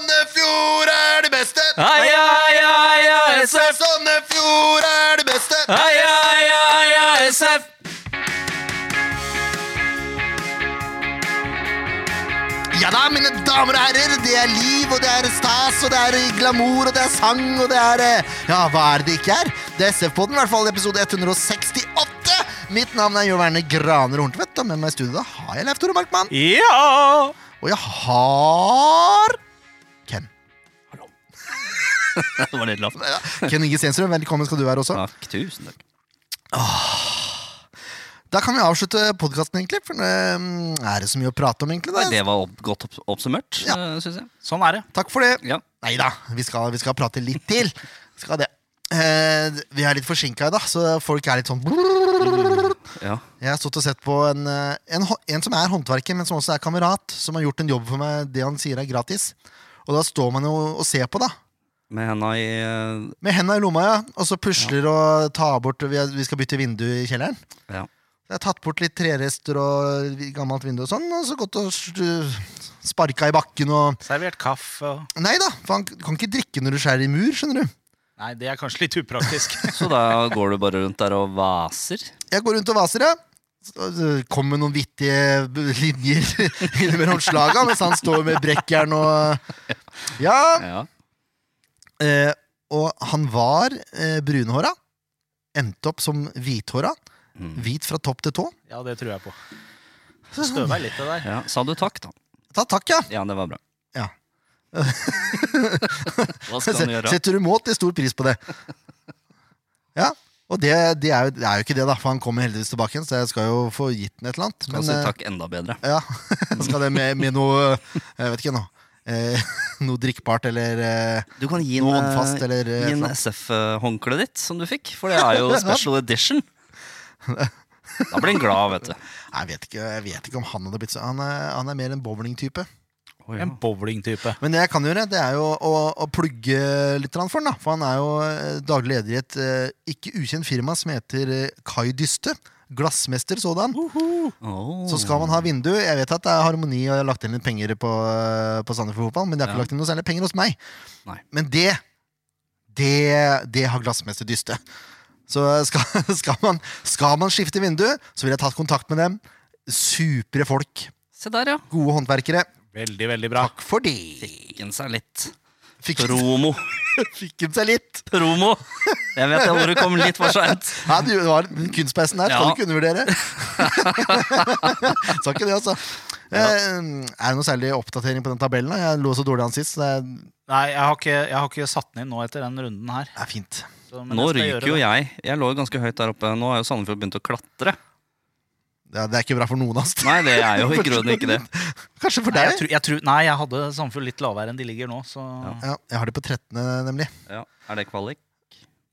Sandefjord er det beste! Heia, heia, heia, SF! Sandefjord er det beste! Heia, heia, heia, SF! Ja da, mine damer og herrer, det er liv, og det er stas, og det er glamour, og det er sang, og det er eh, Ja, hva er det det ikke er? Det er SF-podden, i hvert fall episode 168. Mitt navn er Jo Verne Graner Horntvedt, og med meg i studio da har jeg Leif Tore Markmann. Ja! Og jeg har Ken. Det var litt lavt. Ja, Ken Inge Stensrud, velkommen skal du være også. Takk, tusen takk. Da kan vi avslutte podkasten, egentlig. For eh, er det så mye å prate om, egentlig? Nei, Da? det var opp, godt opp, oppsummert, Ja. eh, synes jeg. Sånn er det. Takk for det. Ja. Nei da, vi skal, vi skal prate litt til. Vi Skal det. Eh, vi er litt forsinka i dag, så folk er litt sånn ja. Jeg har stått og sett på en, eh, en, hå- en som er håndverker, men som også er kamerat, som har gjort en jobb for meg. Det han sier er gratis. Og da står man jo og ser på, da. Med henda i eh, Med henda i lomma, ja. Og så pusler og tar bort vi, har- vi skal bytte vindu i kjelleren. Ja. Jeg har tatt bort litt trerester og vi- gammelt vindu og sånn, og så gått og stu- sparka i bakken og Servert kaffe og Nei da, for han du kan ikke drikke når du skjærer i mur, skjønner du. Nei, det er kanskje litt upraktisk. Så da går du bare rundt der og vaser? Jeg går rundt og vaser, ja. Så, øh, Kom med noen vittige b- linjer innimellom slaga mens han står med brekkjern og Ja. Ja. Eh, og han var eh, brunhåra. Endte opp som hvithåra. Mm. Hvit fra topp til tå. Ja, det tror jeg på. sånn. Det støver litt, det der. ja. Sa du takk, da? Ta takk, ja. Ja, det var bra. Ja. Hva skal han gjøre? Setter umåtelig stor pris på det. Ja. Og det, det, er jo, det er jo ikke det, da, for han kommer heldigvis tilbake igjen, så jeg skal jo få gitt den et eller annet. Skal han si eh, takk enda bedre? Ja, skal det med, med noe Jeg vet ikke nå eh, Noe drikkbart eller eh, Du kan gi en, noe eh, håndfast eller eh, Gi en noe. SF-håndkleet ditt som du fikk, for det er jo special edition. Da blir han glad, vet du. Nei, jeg, vet ikke, jeg vet ikke om han hadde blitt så Han er, han er mer en bowlingtype. En bowlingtype. Men det jeg kan gjøre, det er jo å, å plugge litt grann for han da. For han er jo eh, daglig leder i et eh, ikke ukjent firma som heter eh, Kai Dyste. Glassmester sådan. Åh. Så skal man ha vindu. Jeg vet at det er Harmoni og jeg har lagt inn litt penger på, eh, på Sandefjord Fotball, men de har ikke Ja. lagt inn noe særlig penger hos meg. Nei. Men det, det, det har glassmester dyste. Så skal, skal, man, skal man skifte vindu, så vil jeg tatt kontakt med dem. Supre folk. Se der, ja. Gode håndverkere. Veldig, veldig bra. Takk for det. Fikken seg litt. Fikk, Promo. fikk hun seg litt. Promo! Jeg vet jeg hvor du kom litt for seint. Ja, det var den kunstpeisen der. Skal du Ja. ikke undervurdere. Sa ikke det, altså. Eh, Er det noe særlig oppdatering på den tabellen? da? Jeg lå så dårlig an sist. Så det er, Nei, jeg har, ikke, jeg har ikke satt den inn nå etter den runden her. det er fint. Så, men Nå jeg skal ryker gjøre jo det. jeg. Jeg lå jo ganske høyt der oppe. Nå har jo Sandefjord begynt å klatre. Det er, det er ikke bra for noen av oss. Nei, det er jo i grunnen ikke det. Kanskje for Nei, deg? jeg, tror- jeg tror- nei, jeg hadde Sandefjord litt lavere enn de ligger nå, så ja, jeg har det på 13., nemlig. Ja. Er det kvalik?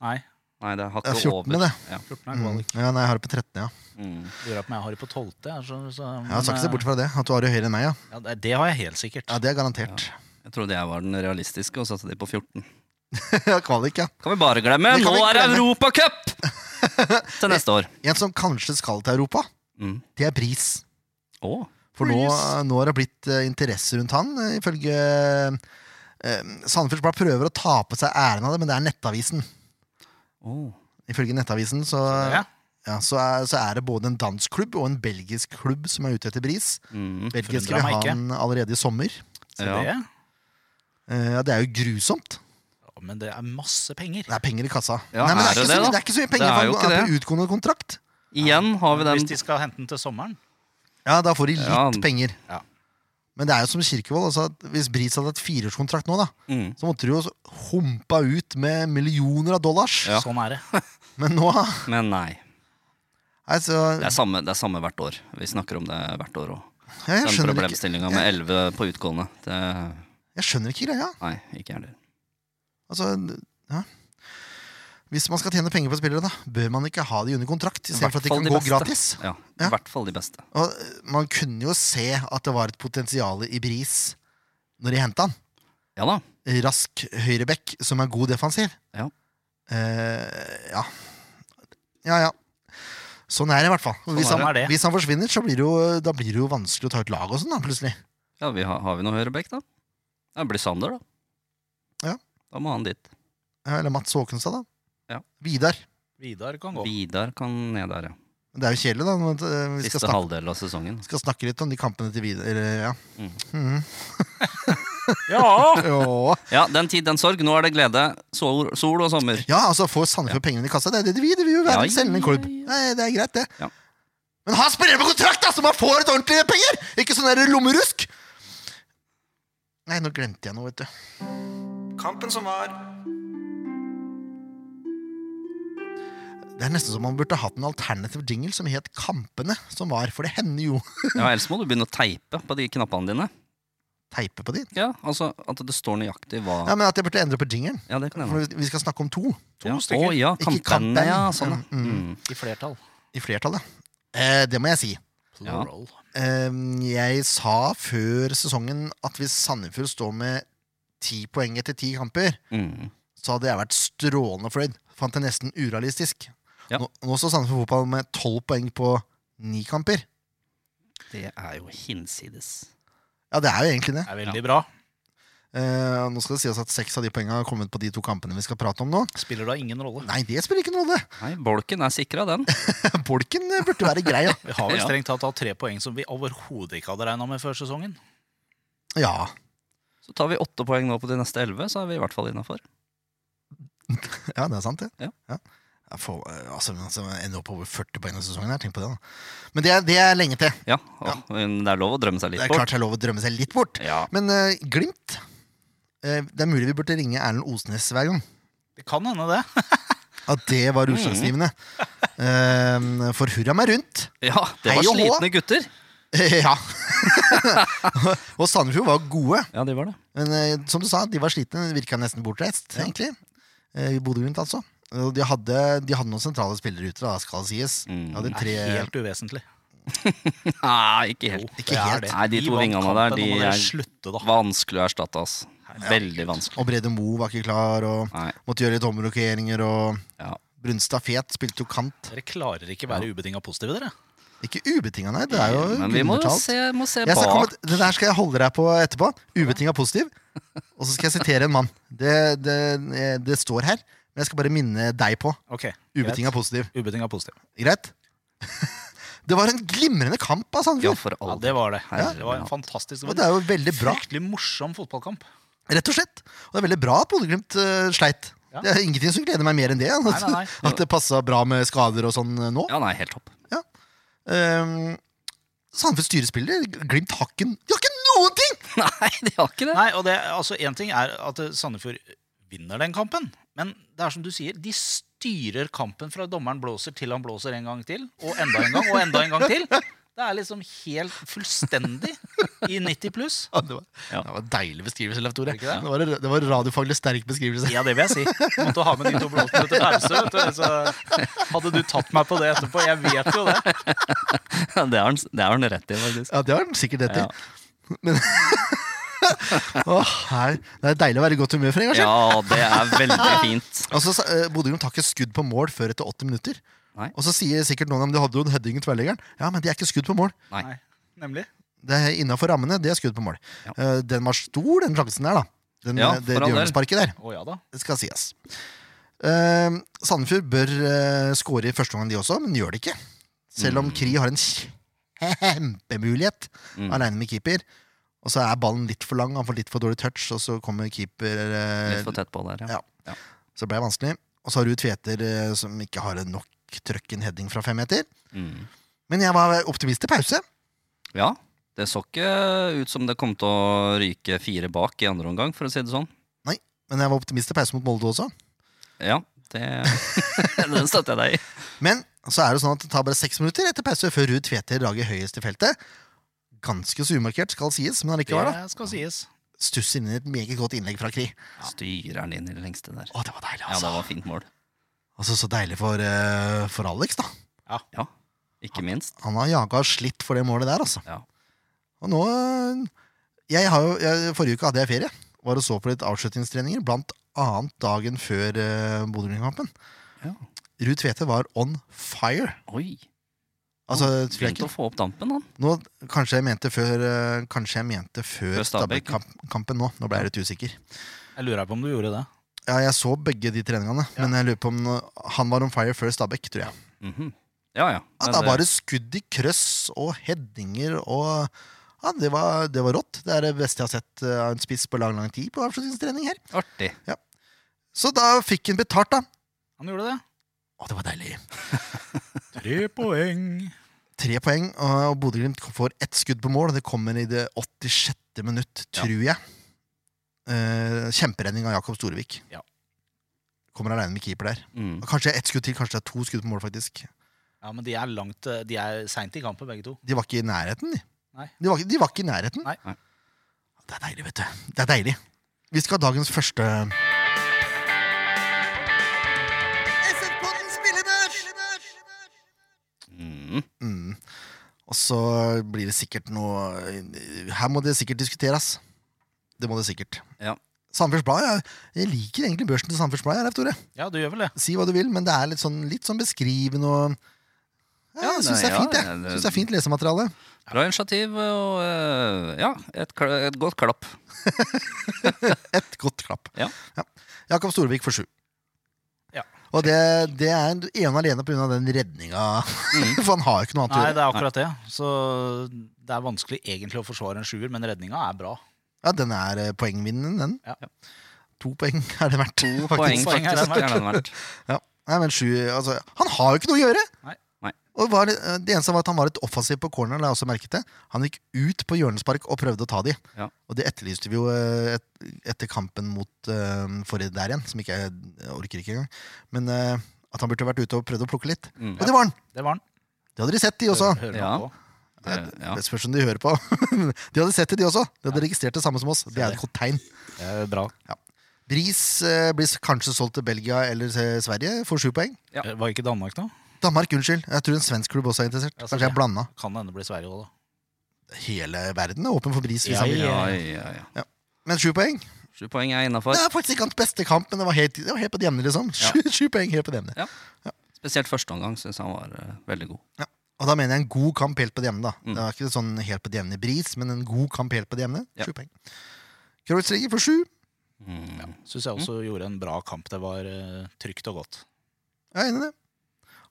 nei. Nei, det er Det hakket er 14., over. det. 14 er Mm. kvalik. Ja, nei, jeg har det på 13, ja. Mm. Lurer på om jeg har det på 12. Jeg, så, så, Jeg har men, sagt det eh, bort fra det. At du har det høyere enn meg, ja. ja, det- det har jeg helt sikkert. Ja, Det er garantert. Jeg trodde jeg var den realistiske og satte de på 14. Ja, Kvalik, ja. Kan vi bare glemme? Det kan Nå vi er det glemme. Europacup! Til neste år. En som kanskje skal til Europa, Mm. det er Bris. Å, For nå, Bris. nå har det blitt eh, interesse rundt han, eh, ifølge eh, Sandefjords Blad prøver å ta på seg æren av det, men det er Nettavisen. å. Ifølge Nettavisen så, Sånn, Ja. ja, så, er, så er det både en dansk klubb og en belgisk klubb som er ute etter Bris. Mm. Belgiske Forundrer vil meg ha ikke. han allerede i sommer. Så Ja. det, Eh, Ja, det er jo grusomt. ja, men det er masse penger. Det er penger i kassa. Ja, Nei, men det, er er ikke det så, mye- det, da? det er ikke så mye Det penger, er jo for han ikke er på utgående kontrakt. Igjen har vi den Hvis de skal hente den til sommeren. Ja, da får de litt Ja. penger. Ja. Men det er jo som Kirkevold. Altså, at hvis Bris hadde hatt fireårskontrakt nå, da, mm. så måtte de jo humpa ut med millioner av dollars. Ja. Sånn er det. Men nå Men nei. altså, Det er, samme, det er samme hvert år. Vi snakker om det hvert år òg. ja, jeg, Den skjønner ikke, problemstillinga med 11 på utgående. Det, jeg skjønner ikke greia. nei, ikke jeg heller. Altså, ja. Hvis man skal tjene penger på spillere, da, bør man ikke ha de under kontrakt. I Istedenfor at hvert de fall kan de gå beste. gratis. Ja, Ja. I hvert fall de beste. Og øh, Man kunne jo se at det var et potensial i Bris når de henta han. Ja da. rask høyrebekk som er god defensiv. Ja. Eh, ja. ja, ja. Sånn er det i hvert fall. hvis, er han, det. hvis han forsvinner, så blir det jo, da blir det jo vanskelig å ta ut lag og sånn, da, plutselig. Ja, vi har, har vi noe høyrebekk, da? Ja, det blir Sander, da. Ja. Da må han dit. Ja, Eh, Eller Mats Håkenstad, da. Ja. Vidar. Vidar kan gå. Vidar kan ned der, ja. Det er jo kjedelig, da. når, eh, Vi Siste skal snakke, halvdel av sesongen. skal snakke litt om de kampene til Vidar. eller, Ja. Mm. Mhm. Ja! Jo. Ja, den tid, den sorg. Nå er det glede. Sol, sol og sommer. ja, altså, får Sandefjord pengene i kassa? Det er det de vil. De vil jo være Ja, en selgende klubb. ja, ja. Nei, Det er greit, det. Ja. Men han spiller på kontrakt, da, så man får et ordentlig penger! Ikke sånn der lommerusk. Nei, nå glemte jeg noe, vet du. Kampen som var. Det er nesten som man burde hatt en alternativ jingle som het Kampene, som var, for det hender jo Ja, Ellers må du begynne å teipe på de knappene dine. teipe på de. Ja, altså At det står nøyaktig hva Ja, men at jeg burde endre på jingelen. Ja, det kan hende. For vi skal snakke om to To ja. stykker. Å, ja, Ikke kampene, kampen. ja. Sånn, ja. Mm, Mm. I flertall. i flertallet. Eh, det må jeg si. Plural. Eh, jeg sa før sesongen at hvis Sandefjord står med ti poeng etter ti kamper, Mm. så hadde jeg vært strålende fornøyd. Fant det nesten urealistisk. Ja. Nå, nå står Sandefjord fotball med tolv poeng på ni kamper. Det er jo hinsides. Ja, det er jo egentlig det. Er veldig bra. Eh, nå skal det sies at seks av de poengene har kommet på de to kampene vi skal prate om nå. Spiller da ingen rolle. Nei, det spiller ikke noe rolle. Nei, bolken er sikra, den. Bolken eh, burde være grei, ja. Vi har vel Ja. strengt tatt hatt tre poeng som vi overhodet ikke hadde regna med før sesongen. ja. Så tar vi åtte poeng nå på de neste elleve, så er vi i hvert fall innafor. Ja, det er sant, det. Ja. Jeg får, eh, altså, men altså, jeg ender opp over 40 poeng denne sesongen. her, Tenk på det, da. Men det er, det er lenge til. Ja, og, men Det er lov å drømme seg Det litt er bort. klart det er lov å drømme seg litt bort. Ja. Men eh, Glimt eh, Det er mulig vi burde ringe Erlend Osnes hver gang. Det kan hende, det. At det var utslagsgivende. Mm. Eh, for hurra meg rundt. ja, det Hei og var hå. slitne gutter. ja. og Sandefjord var gode. Ja, de var det. Men eh, som du sa, de var slitne. De Virka nesten bortreist, egentlig. Eh, I Bodø-Glimt, altså. Og De hadde, de hadde noen sentrale spillere ute, da, skal det sies. Mm. De hadde Det tre, er helt uvesentlig. Oh, Nei, ikke helt. Ikke helt. Nei, de to vant vingene kampen, der, de nå må dere er- slutte, da. Vanskelig å erstatte, ass. Veldig vanskelig. Og Brede Mo var ikke klar, og Nei, måtte gjøre litt omrokeringer. Og ja. Brunstad Fet spilte jo kant. Dere klarer ikke være ubetinga positive, dere. Ikke ubetinga, nei. Det er jo Men vi må jo undertalt. se, må se Jeg skal komme, bak. det der skal jeg holde deg på etterpå. Ubetinga positiv. Og så skal jeg sitere en mann. Det, det, det står her, men jeg skal bare minne deg på. Ok, Ubetinga positiv. Ubetinga positiv. Greit? Det var en glimrende kamp av Ja, Sandefjord. for Ja, all det del. var det. Ja. Det var en fantastisk Og det er jo veldig bra, Fryktelig morsom fotballkamp. rett og slett. Og det er veldig bra at Bodø-Glimt eh, sleit. Ja. Det er ingenting som gleder meg mer enn det. At, Nei, nei, nei. at det passa bra med skader og sånn eh, nå. Ja, nei, helt topp. Um, Sandefjord styrespiller, Glimt har ikke De har ikke noen ting! Nei, de har ikke det. Nei, og det, altså Én ting er at eh, Sandefjord vinner den kampen, men det er som du sier, de styrer kampen fra dommeren blåser til han blåser en gang til, og enda en gang, og enda en gang til. Det er liksom helt fullstendig i 90 pluss. Ja, det, var, Ja. det var en deilig beskrivelse, Leif Tore. Ikke det? Det var, det var en radiofaglig sterk beskrivelse. Ja, det vil jeg si. Jeg måtte ha med de to blåsene til pause. Vet du. Så hadde du tatt meg på det etterpå Jeg vet jo det. Det har han- det har han rett i, faktisk. Ja, det har den sikkert etter. Men Åh, her. Det er deilig å være i godt humør for en gangs skyld. Ja, det er veldig fint. Og så sa- eh, Bodø Glimt tar ikke skudd på mål før etter 80 minutter. Nei. Og så sier sikkert noen om de hadde jo en heading i tverrleggeren. Ja, men det er ikke skudd på mål. Nei. Nemlig. Det er innafor rammene, det er skudd på mål. Ja. Eh, Den var stor, den sjansen der, da. Den, Ja, eh, det for all del. hjørnesparket der. Å ja da. Det skal sies. Eh, Sandefjord bør eh, skåre i første omgang, de også, men gjør det ikke. Selv om Kri har en kjempemulighet Mm. aleine med keeper. Og så er ballen litt for lang, han får litt for dårlig touch, og så kommer keeper eh, Litt for tett på der, Ja. ja. Så det ble vanskelig. Og så har du Tveter eh, som ikke har nok trøkk i en heading fra fem meter. Mm. Men jeg var optimist til pause. Ja, det så ikke ut som det kom til å ryke fire bak i andre omgang, for å si det sånn. Men jeg var optimist til pause mot Molde også. Ja, det, den støtter jeg deg i. Men så er det sånn at det tar bare seks minutter etter pause før Ruud Tveter rager høyest i feltet. Ganske så umarkert, skal sies, men allikevel. da. Det skal sies. Stusser inn i et meget godt innlegg fra Kri. Styrer den inn i det lengste der. Å, det var deilig, Ja, det altså. var fint mål. altså så deilig for, eh, for Alex, da. Ja, ikke minst. Han har jaga og slitt for det målet der, altså. Ja. Og nå eh, jeg har jo, jeg, Forrige uke hadde jeg ferie. Var og så på litt avslutningstreninger, blant annet dagen før eh, uh, Bodø-Glimt-kampen. Ja. Ruud Tvete var on fire. Oi. Altså, Begynte Flekken. å få opp dampen, han. Nå, kanskje jeg mente før, eh, kanskje jeg mente før Før Stabæk. Stabæk-kampen nå. Nå ble jeg litt usikker. Jeg lurer på om du gjorde det. Ja, jeg så begge de treningene, men jeg lurer på om eh, han var on fire før Stabæk, tror jeg. Mhm. Ja, ja. Ja, Men da det- var det skudd i krøss og headinger og ja, det, var, det var rått. Det er det beste jeg har sett eh, av en spiss på lang, lang tid på avslutningstrening her. Artig. Så da fikk han betalt, da. Han gjorde det. Å, det var deilig. Tre poeng. Tre poeng, og Bodø-Glimt får ett skudd på mål. og Det kommer i det 86. minutt, Ja. tror jeg. Eh, kjemperedning av Jakob Storevik. Ja. Kommer aleine med keeper der. Mm. Og Kanskje ett skudd til, kanskje det er to skudd på mål, faktisk. Ja, men de er langt eh, De er seint i kampen, begge to. De var ikke i nærheten, de. Nei. De var, ikke- de var ikke i nærheten. Nei. Nei. Det er deilig, vet du. Det er deilig. Vi skal ha dagens første Mm. mm. Og så blir det sikkert noe Her må det sikkert diskuteres. Det må det sikkert. Ja. Sandefjords Blad, jeg, jeg liker egentlig børsen til Sandefjords Blad. jeg, Leif Tore. Ja, du gjør vel det. Si hva du vil, men det er litt sånn, litt sånn beskrivende og ja, Ja, Jeg syns nei, det er fint, ja, jeg. ja, det- Synes det er fint lesemateriale. Bra initiativ og eh, ja, et, kla- et godt klapp. Et godt klapp. Ja. Jakob Storvik for sju. Ja. Og det, det er ene alene pga. den redninga. Mm. For han har jo ikke noe annet å Nei, gjøre. det er akkurat det. Så det er vanskelig egentlig å forsvare en sjuer, men redninga er bra. Ja, den er eh, poengvinnende, den. Ja. To poeng er det verdt. To faktisk. poeng, Poeng er den faktisk. verdt. er den verdt. Ja. Nei, men sju, altså, han har jo ikke noe å gjøre! Nei. Nei. Og var, det eneste var at han var litt offensiv på corneren. la jeg også merket det. Han gikk ut på hjørnespark og prøvde å ta de. Ja. Og det etterlyste vi jo eh, et, etter kampen mot eh, forrige der igjen, som ikke jeg jeg orker ikke engang. Men eh, at han burde vært ute og prøvd å plukke litt. Mm. Og det var han! Det var den. Det hadde de sett, de også. Hører man Ja. på. Det Eh, ja. det spørs om de hører på. de hadde sett det, de også. De hadde registrert det samme som oss. Det er et godt tegn. Det er bra. Bris eh, blir kanskje solgt til Belgia eller eh, Sverige for sju poeng. Ja. Eh, Var ikke Danmark nå? Danmark, unnskyld. Jeg tror en svensk klubb også er interessert. Ja, så Kanskje det. jeg blanda. Kan hende det blir Sverige òg, da. Hele verden er åpen for Bris. hvis Ja, han vil. Ja, ja, ja. Men sju poeng Sju poeng er innafor. Det er faktisk ikke hans beste kamp, men det var helt, det var helt på det jevne. Liksom. Sju, sju poeng helt på det jevne. Spesielt første omgang syns han var eh, veldig god. Og da mener jeg en god kamp helt på det jevne. da. Mm. Det var ikke sånn helt på det jevne Bris, men en god kamp helt på det jevne. Ja. Sju poeng. Kreuzriger for sju. Mm. Syns jeg også gjorde en bra kamp. Det var eh, trygt og godt. Jeg er enig i det.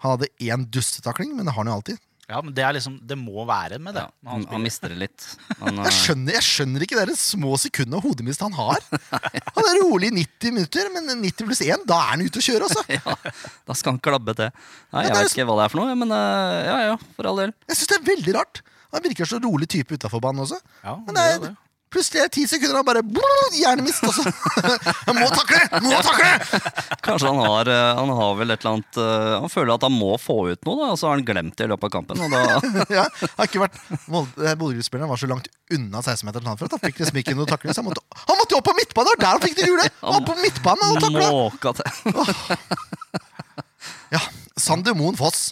Han hadde én dustetakling, men det har han jo alltid. Ja, men det er liksom Det må være med det. Ja, når han, han spiller. mister det litt. Han, eh, Jeg skjønner, jeg skjønner ikke de små sekundene av hodemist han har. Han er rolig i 90 minutter, men 90 pluss 1, da er han ute å kjøre altså. også. ja, da skal han klabbe til. Nei, Ja, jeg det er vet ikke hva det er for noe, men eh, ja ja, for all del. Jeg synes det er veldig rart. Han virker så rolig type utafor banen også. ja, Men det det er er, det. plutselig er det ti sekunder, og han bare blum, hjernemist også. altså. Jeg må takle! jeg Må takle! Kanskje han har, eh, han har vel et eller annet eh, Han føler at han må få ut noe, da, og så har han glemt det i løpet av kampen. Og da, Ja, han har ikke vært Bodø-spilleren var så langt unna 16-meteren han for at han fikk liksom ikke noe takling. Så han måtte, han måtte jo opp på midtbanen! Det var der han fikk det gule! Opp på midtbanen og takla! Måka til. Ja, Sander Moen Foss.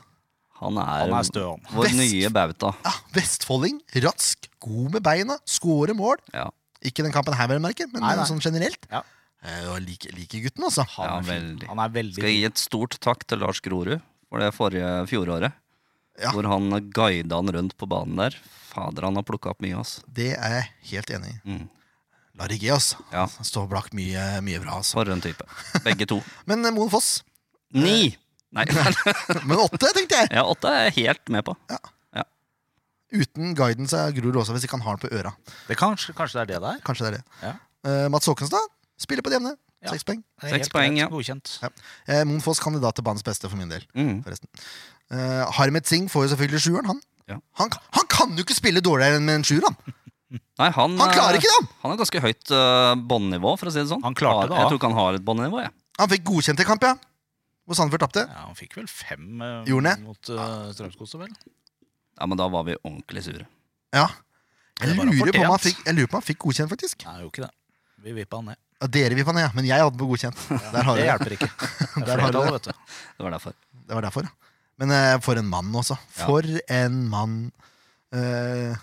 Han er, Han er stø, han. vår Best. nye bauta. Ja, Vestfolding. Rask, god med beina, skårer mål. Ja, Ikke den kampen her, vel å merke, men Nei, nei. sånn generelt. Ja. Eh, og like, like gutten, altså. ja Han er fin. veldig. Han er veldig Skal jeg gi et stort takk til Lars Grorud for det forrige fjoråret. Ja. Hvor han guida han rundt på banen der. Fader, han har plukka opp mye, altså. Det er jeg helt enig i. Mm. Larry G, altså. Ja. Han står bak mye, mye bra, altså. For en type. Begge to. Men eh, Moen Foss. Ni! Nei, Men åtte, tenkte jeg! ja, åtte er jeg helt med på. Uten guidance av Grorud også, hvis ikke han har den på øra. Det kanskje, kanskje det er det der? Kanskje det er det. Ja. Eh, Mats Håkenstad spiller på det jevne. Ja. Seks poeng. Det er Seks helt poeng, greit. ja. Godkjent. Ja. Eh, Moen Foss kandidat til banens beste, for min del. Mm. forresten. Eh, Harmet Singh får jo selvfølgelig sjueren, han. Ja. han. Han kan jo ikke spille dårligere enn med en sjuer, han! Nei, han, Han klarer eh, ikke det, han! Han har ganske høyt uh, båndnivå, for å si det sånn. Han klarte det, Jeg da. tror ikke han har et båndnivå, jeg. Han fikk godkjent i kamp, ja. Hvor Sandefjord tapte. Ja, han fikk vel fem eh, Gjorde han det? mot uh, Strømsgodset, vel? Ja, men da var vi ordentlig sure. Ja. Det Jeg var lurer, på om han fortjent. fikk, jeg lurer på om han fikk godkjent, faktisk. Nei, jo ikke det. Vi vippa han ned. Ja, dere vil på ned, men jeg hadde på godkjent. Der har Det dere det. hjelper ikke. Det Der er har flertall, vet du. Det var derfor. Det var derfor. ja. Men eh, for en mann, også. Ja. For en mann. Eh,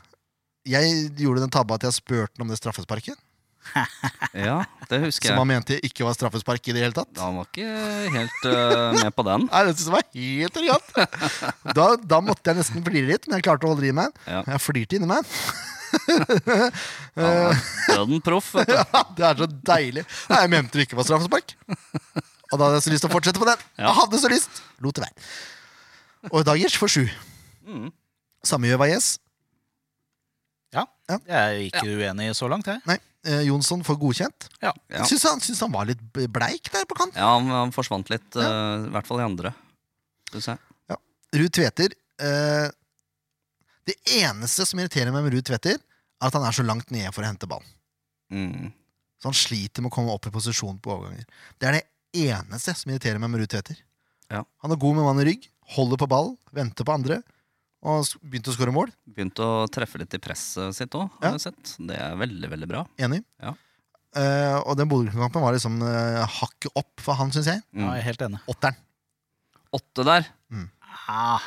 jeg gjorde den tabba at jeg spurte ham om det straffesparket. Ja, det husker Som jeg. han mente ikke var straffespark i det hele tatt. Han var ikke helt eh, med på den. Nei, det synes jeg var helt elegant. Da, da måtte jeg nesten flire litt, men jeg klarte å holde det i meg. Ja. Jeg flirte inni meg. Han er døden proff, vet du. Ja, det er så deilig. Nei, jeg mente det ikke var straffespark. Og da hadde jeg så lyst til å fortsette på den. Ja. Jeg hadde så lyst. Lot det være. Og Dagers får sju. Mm. Samme gjør Vajez. Jeg er jo ikke uenig så langt, jeg. Nei, eh, Jonsson får godkjent. Ja. Ja. Syns han, syns han var litt bleik der på kant. Ja, han, han forsvant litt, eh, i hvert fall i andre. Synes jeg. Ruud Tveter eh, Det eneste som irriterer meg med Ruud Tveter, er at han er så langt nede for å hente ballen. Mm. Så han sliter med å komme opp i posisjon på overganger. Det er det eneste som irriterer meg med Ruud Tveter. Ja. Han er god med mann i rygg, holder på ball, venter på andre, og s- begynte å skåre mål. Begynte å treffe litt i presset sitt òg, Ja. har jeg sett. Det er veldig, veldig bra. Enig? Ja. Eh, og den Bodø-kampen var liksom eh, hakket opp for han, syns jeg. Ja, Mm. jeg er helt enig. Åtteren. Åtte der. Ah,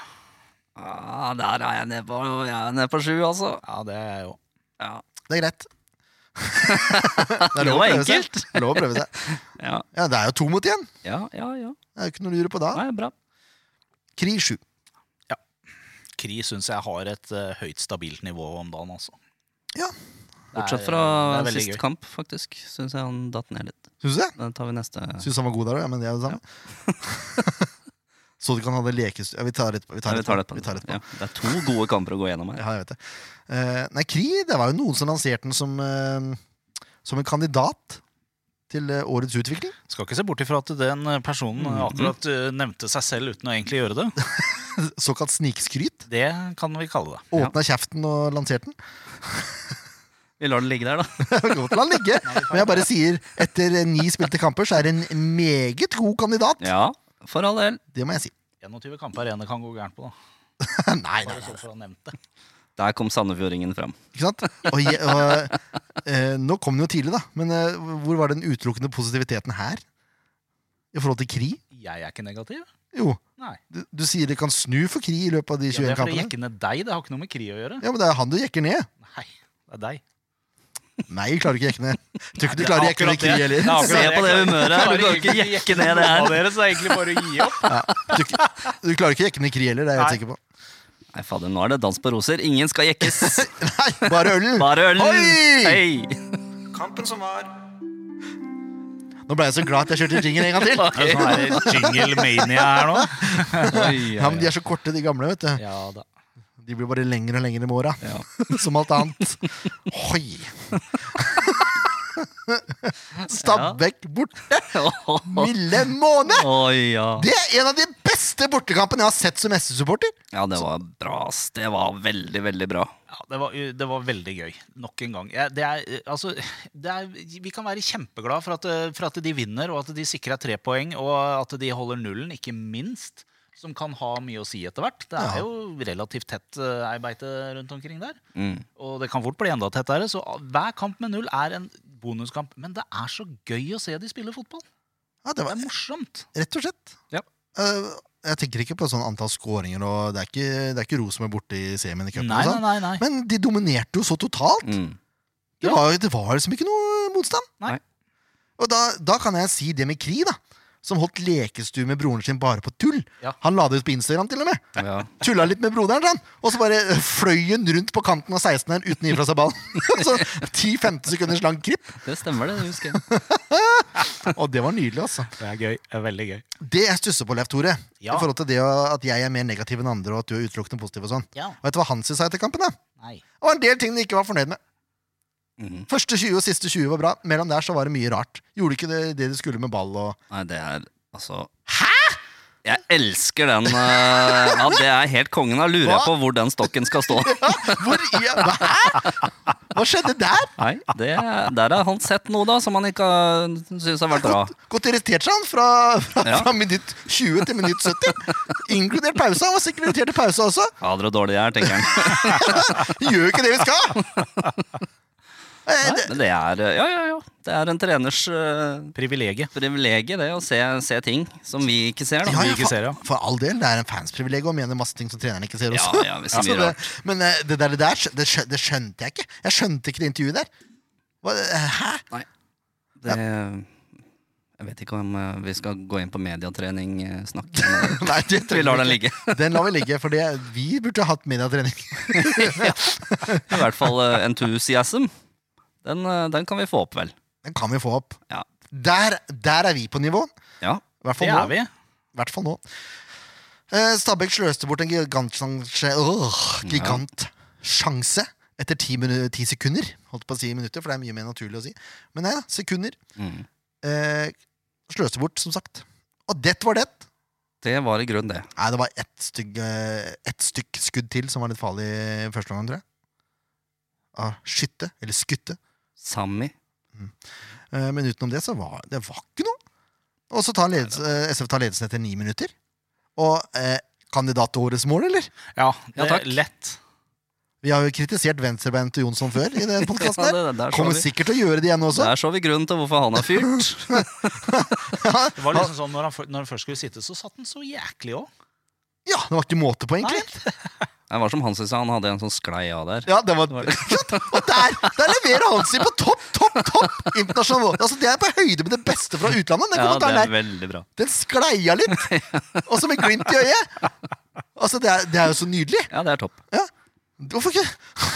Ah, der er jeg nede på, jeg er nede på sju, altså. ja, det er jeg jo. Ja. Det er greit. det Det å var prøve seg. enkelt. Det er lov å prøve seg. Ja, Ja, det er jo to mot én. ja, ja. ja. Det er jo ikke noe å lure på da. Nei, bra. Kri sju. Kri syns jeg har et eh, høyt stabilt nivå om dagen, altså. Ja. Det er- eh, Bortsett fra det er veldig sist gøy. kamp, faktisk. Syns jeg han datt ned litt. Syns du det? Den tar vi neste. Syns han var god der òg, ja, men det er det samme. Så du ikke han hadde lekestue ja, Vi tar litt på. Vi Nei, tar vi tar det etterpå. Vi tar etterpå. Ja, det er to gode kamper å gå gjennom her. Ja, jeg vet det. Eh, nei, Kri, det var jo noen som lanserte den som, eh, som en kandidat til eh, årets utvikling. Skal ikke se bort ifra at den eh, personen eh, akkurat eh, nevnte seg selv uten å egentlig gjøre det. Såkalt snikskryt. Det kan vi kalle det. Ja. Åpna kjeften og lanserte den. Vi lar den ligge der, da. Godt la den ligge. Men jeg bare sier, etter eh, ni spilte kamper, så er det en meget god kandidat. Ja, for all del. Det må jeg si. 21 kamper igjen det kan gå gærent på, da. nei, nei, nei. Bare så for å ha nevnt det. Der kom Sandefjordingen fram. Ikke sant? Og, je- og, eh, nå kom den jo tidlig, da. Men eh, hvor var den utelukkende positiviteten her? I forhold til Kri? Jeg er ikke negativ. Jo, Nei. du, du sier det kan snu for Kri i løpet av de Ja, 21 det er for å kampene. jekke ned deg. Det har ikke noe med Kri å gjøre. Ja, men det er han du jekker ned. Nei, det er deg. Nei, jeg klarer ikke å jekke ned. Jeg Tror ikke du Det er klarer å jekke ned akkurat Kri det. heller. Det er akkurat Se på det humøret her, du kan ikke jekke ned det her. Av dere, så er det egentlig bare å gi opp. Du, du klarer ikke å jekke ned Kri heller, det er jeg helt sikker på. Nei, fader, nå er det dans på roser. Ingen skal jekkes. Nei, bare ølen! Bare øl. Oi! Hei! Kampen som var. Nå ble jeg så glad at jeg kjørte jingen en gang til. Det er sånn her jingle mania her nå. Ja, men De er så korte, de gamle. vet du Ja da. De blir bare lengre og lengre med åra. Ja. Som alt annet. Hoi! Stabæk borte! Milde måned! Oi, ja. Det er en av de beste bortekampene jeg har sett som SU-supporter. Ja, det var bra, ass. Det var veldig, veldig bra. Ja, det, var, det var veldig gøy. Nok en gang. Ja, Det er, eh, altså, det er, vi kan være kjempeglade for at, eh, for at de vinner, og at de sikrer tre poeng, og at de holder nullen, ikke minst. Som kan ha mye å si etter hvert. Det Ja. er jo relativt tett eh, ei beite rundt omkring der. Mm. Og det kan fort bli enda tettere. Så hver kamp med null er en bonuskamp. Men det er så gøy å se de spille fotball. Ja, det Det var er morsomt. Rett og slett. Ja. Eh, jeg tenker ikke på sånn antall skåringer, og det er ikke, det er ikke Rosenborg borte i semien i Nei, cupen. og nei, sånn. nei. nei. Men de dominerte jo så totalt. Mm. Det, Ja. var, det var liksom ikke noe motstand. Nei. Og da, da kan jeg si det med Kri, da. Som holdt lekestue med broren sin bare på tull. Ja. Han la det ut på Instagram, til og med. Ja. Tulla litt med broderen, sånn. og så bare fløy hun rundt på kanten av 16-eren uten å gi fra seg ballen. så 10-15 sekunders lang kripp. Det stemmer, det. det husker jeg. Og det var nydelig, altså. Det er gøy. Det er veldig gøy. Det jeg stusser på, Leif Tore, Ja. i forhold til det å- at jeg er mer negativ enn andre, og at du er utelukkende positiv og sånn. Ja. Vet du hva Hansi sa etter kampen? da? Nei. Det var en del ting de ikke var fornøyd med. Mhm. Første 20 og siste 20 var bra. Mellom der så var det mye rart. Gjorde ikke det, det de skulle med ball og Nei, det er altså Hæ?! Jeg elsker den. eh, ja, Det er helt kongen. Da lurer jeg Hva? på hvor den stokken skal stå. Hvor i Hva? Hæ? Hva skjedde der? Nei, det, Der har han sett noe da som han ikke har syns har vært bra. Godt irritert seg han fra, fra, Ja. fra minutt 20 til minutt 70. Inkludert pausa. Han var sikkert irritert i pausa også. Fader, så dårlig jeg er, tenker han. Vi gjør jo ikke det vi skal! Eh, Nei, det- men det er eh, Ja, ja, ja. Det er en treners eh, Privilegiet. privilegium, det, å se, se ting som vi ikke Ja, ser, da. vi ja, ikke ser, ja. for, for all del. Det er en fansprivilegium å mene masse ting som treneren ikke ser Ja, også. Altså, ja, vi sier Så mye det, men eh, det der, det, der skjø- det, skjø- det skjønte jeg ikke. Jeg skjønte ikke det intervjuet der. Hva, hæ? Det, jeg vet ikke om eh, vi skal gå inn på eh, mediatrening-snakk. men Nei, det Vi lar den ligge. Den lar vi ligge, for det, vi burde hatt mediatrening. I hvert fall eh, Enthusiasm. Den, eh, den kan vi få opp, vel. Den kan vi få opp. Ja. Der, der er vi på nivå. Ja. I hvert Det fall nå. er vi. I hvert fall nå. Eh, Stabæk sløste bort en gigantsjanse øh, Gigantsjanse etter ti, minu- ti sekunder. Holdt på å si minutter, for det er mye mer naturlig å si. Men nei da, sekunder. Mm. Eh, sløste bort, som sagt. Og det var det. Det var i grunnen det. Nei, det var ett stygg, eh, ett stykk skudd til som var litt farlig i første omgang, tror jeg. Av skytte, eller skutte. Sami. Eh, Men utenom det så var det var ikke noe. Og så tar ledelse, eh, SF tar ledelsen etter ni minutter. Og eh, kandidat til årets mål, eller? Ja, Ja, det takk. er lett. Vi har jo kritisert venstrebeinet til Jonsson før. i den podcasten Ja, her. det- der så Kommer vi. sikkert til å gjøre det igjen også. Der så vi grunnen til hvorfor han er fyrt. Det var liksom sånn, Når han, fø- når han først skulle sitte, så satt han så jæklig òg. Ja, Det var ikke måte på, egentlig. Det var som Hansen sa, han hadde en sånn sklei av der. Ja, det var... Og der, der leverer Hansi på topp, topp, topp! Internasjonal Altså, Det er på høyde med det beste fra utlandet. Den Ja, det kommentaren der. er veldig bra. Den skleia litt, og så med glimt i øyet. Altså, det er, det er jo så nydelig. Ja, det er topp. Ja. Hvorfor ikke?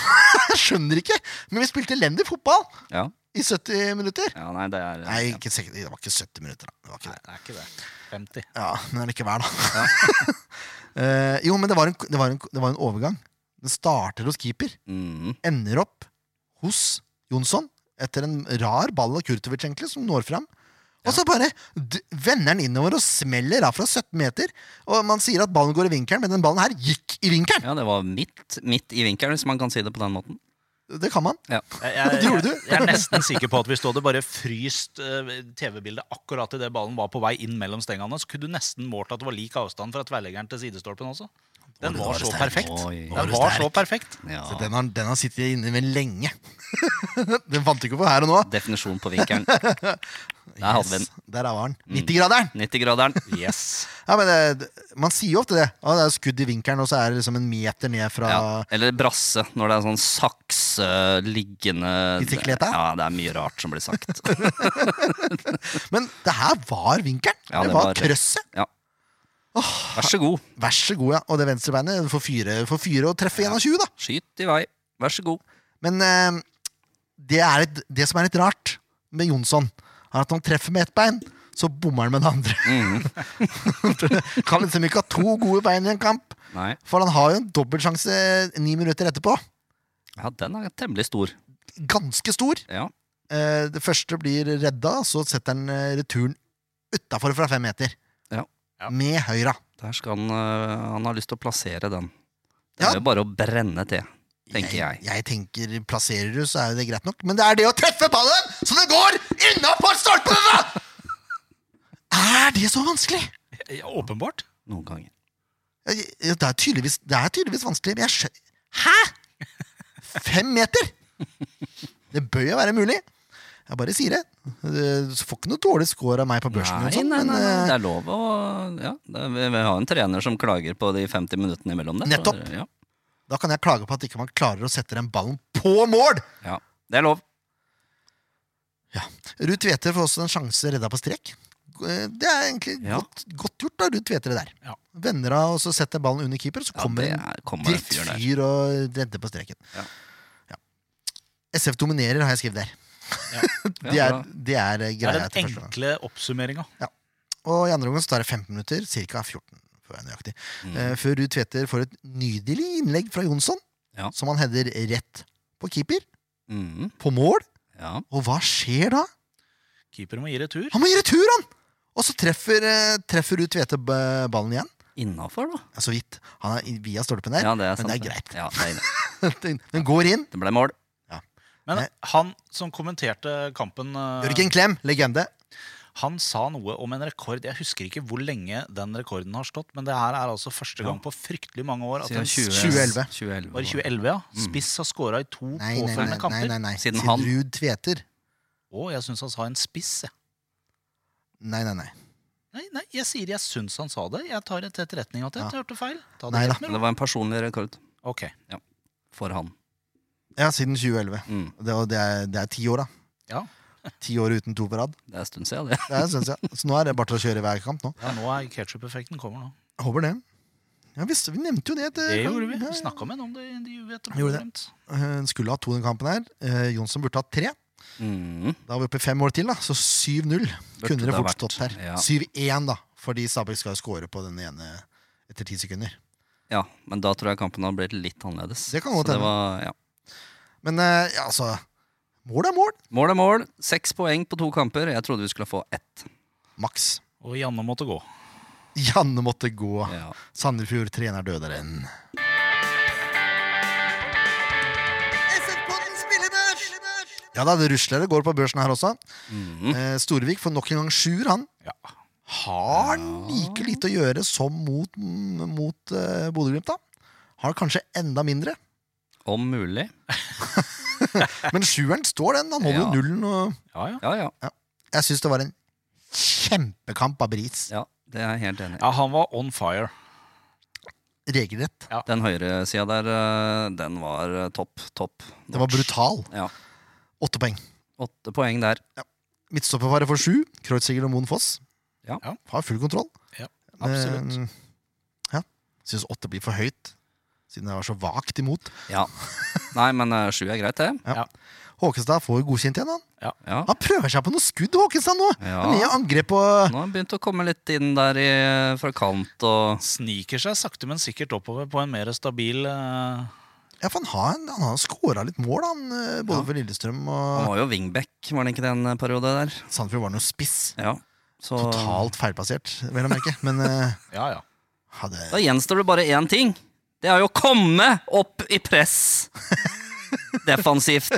Jeg skjønner ikke. Men vi spilte elendig fotball Ja, i 70 minutter. ja nei, det er eh, Nei, ikke, sek- det var ikke 70 minutter, da. Det var ikke det. Det er ikke det. 50. Ja, men likevel, da. Eh, jo, men det var, en, det, var en, det var en overgang. Den starter hos keeper, Mm, ender opp hos Jonsson etter en rar ball av Kurtovic, egentlig, som når fram. Og så bare d vender den innover og smeller av fra 17 meter. Og man sier at ballen går i vinkelen, men den ballen her gikk i vinkelen! ja, det var midt, midt i vinkelen, hvis man kan si det på den måten. Det kan man. Ja. Jeg, jeg, Det gjorde jeg, du. jeg er nesten sikker på at hvis du hadde bare fryst eh, TV-bildet akkurat idet ballen var på vei inn mellom stengene, så kunne du nesten målt at det var lik avstand fra tverrleggeren til sidestolpen også. Den Nå var er du så sterk. perfekt. Oi. Nå er Den du var sterk. så perfekt. Ja, Så den har, den har sittet inne med lenge. den fant du ikke på her og nå. definisjon på vinkelen. Der hadde vi den. Mm. Der var den. 90-graderen! 90-graderen. Yes. Ja, men det, man sier jo ofte det. Ja, det er skudd i vinkelen, og så er det liksom en meter ned fra Ja. Eller brasse, når det er sånn sakse liggende I sikkerheten? Ja, det er mye rart som blir sagt. Men det her var vinkelen! Ja, det, det var var- krøsset! Ja. Vær så god, Vær så god, ja. Og det venstrebeinet får fyre, får fyre og treffe 21, da. skyt i vei. Vær så god. Men eh, det, er litt, det som er litt rart med Jonsson, er at når han treffer med ett bein, så bommer han med det andre. Mhm. kan liksom ikke ha to gode bein i en kamp. Nei. For han har jo en dobbeltsjanse ni minutter etterpå. Ja, den er temmelig stor. Ganske stor. Ja. Eh, det første blir redda, så setter han eh, returen utafor fra fem meter. Ja. Ja. Med høyra. Der skal han øh, Han har lyst til å plassere den. Det Ja. er jo bare å brenne til, tenker jeg. Jeg tenker Plasserer du, så er jo det greit nok. Men det er det å treffe ballen så det går innafor stolpen! da! Er det så vanskelig? Ja, åpenbart. Noen ganger. Ja, ja, Det er tydeligvis, det er tydeligvis vanskelig, men jeg skjønner Hæ?! Fem meter?! Det bør jo være mulig. Jeg bare sier det. Du får ikke noe dårlig score av meg på børsen. og Nei, sånt, nei, nei, men, eh, det er lov å ja, det, er- vi, vi har en trener som klager på de 50 minuttene imellom der. så- Nettopp. Ja, Da kan jeg klage på at ikke man klarer å sette den ballen på mål! ja, det er lov. Ruud Tveter får også en sjanse redda på strek. Eh, Det er egentlig Ja. godt, godt gjort av Ruud Tveter det der. Ja. Vender av, og så setter ballen under keeper, og så Ja, kommer det en er, kommer en fyr der. drittfyr og redder på streken. Ja. Ja. SF dominerer, har jeg skrevet der. det, Ja, er, det er eh, bra. Det er greia den til første gang. enkle oppsummeringa. Og i andre omgang så tar det 15 minutter, ca. 14 for å være nøyaktig, Mm. eh, før Ruud Tveter får et nydelig innlegg fra Jonsson, Ja. som han header rett på keeper, Mhm, på mål. ja. Og hva skjer da? Keeper må gi retur. Han må gi retur, han! Og så treffer, eh, treffer Ruud Tvete b- ballen igjen. Innafor, da. Ja, så vidt. Han er i- via stolpen der. Ja, det er men sant, det er greit. Ja, det, er inne. Den, den går inn. det ble mål. Men Nei. han som kommenterte kampen, eh, Jørgen Klem, legende. han sa noe om en rekord. Jeg husker ikke hvor lenge den rekorden har stått, men det her er altså første gang på fryktelig mange år at Siden en 2011. 2011 Var det 2011, ja? Spiss har scora i to Mm. Nei, nei, nei. påfølgende nei, kamper. nei, nei. Siden han- Ruud Tveter. Å, jeg syns han sa en spiss, jeg. Nei, nei, nei. Nei, nei, jeg sier jeg syns han sa det. Jeg tar det til etterretning at jeg Ja. hørte feil. Ta det Nei da. helt med Det ro. var en personlig rekord Ok. for han. Ja, siden 2011. Mm. Det, og det, er, det er ti år, da. Ja. Ti år uten to på rad. Det er en stund siden, det. Det er, synes jeg. Så nå er det bare til å kjøre i hver kamp nå. ja, nå er ketsjup-effekten kommer nå. Jeg håper det. Ja, visst, vi nevnte jo det. eh, Det gjorde vi. Ja, Vi ja. snakka med henne om det i intervjuet. etter Gjorde det. programmet. Eh, Skulle ha to i den kampen her. Eh, Jonsson burde hatt tre. Mm. Da var vi oppe i fem mål til, da. Så 7-0 Burde kunne det det fort vært, stått her. ja. 7-1, da, fordi Stabæk skal score på den ene etter ti sekunder. Ja, men da tror jeg kampen hadde blitt litt annerledes. Det kan godt Så det hende. var- ja. Men eh, ja, altså Mål er mål. Mål er mål. Seks poeng på to kamper. Jeg trodde vi skulle få ett. Maks. Og Janne måtte gå. Janne måtte gå. Ja. Sandefjord trener døderen. Ja da, det rusler det går på børsen her også. Mm. Eh, Storvik får nok en gang sjuer, han. Ja. Har han like lite å gjøre som mot, mot eh, Bodø-Glimt, da? Har kanskje enda mindre. Om mulig. Men sjueren står, den. Han holder jo Ja. nullen. Og Ja, ja. Ja, ja. jeg syns det var en kjempekamp av Bris. ja det er jeg helt enig i. ja, han var on fire. Regelrett. Den høyresida der, eh, den var eh, topp, topp. Den var brutal. Ja. Åtte poeng. Åtte poeng der. Midtstopperparet får sju. Kreutziger og Moen Foss Ja. Ja. har full kontroll. Ja, absolutt. Eh, ja. Syns åtte blir for høyt, siden jeg var så vagt imot. Ja. Nei, men eh, sju er greit, det. Håkestad får godkjent igjen. Han Ja. Han prøver seg på noe skudd, Håkestad, nå! Ja. Han er i angrep på Nå har han begynt å komme litt inn der i, eh, fra kant og Sniker seg sakte, men sikkert oppover på en mer stabil eh, Ja, for han har, han har scora litt mål, han, eh, både for Lillestrøm Han og var jo wingback, var han ikke det en eh, periode der? Sandefjord var noe spiss. Ja. Så Totalt feilplassert, vel å merke. Men eh, Ja, ja. ja, det, da gjenstår det bare én ting. Det er jo å komme opp i press defensivt.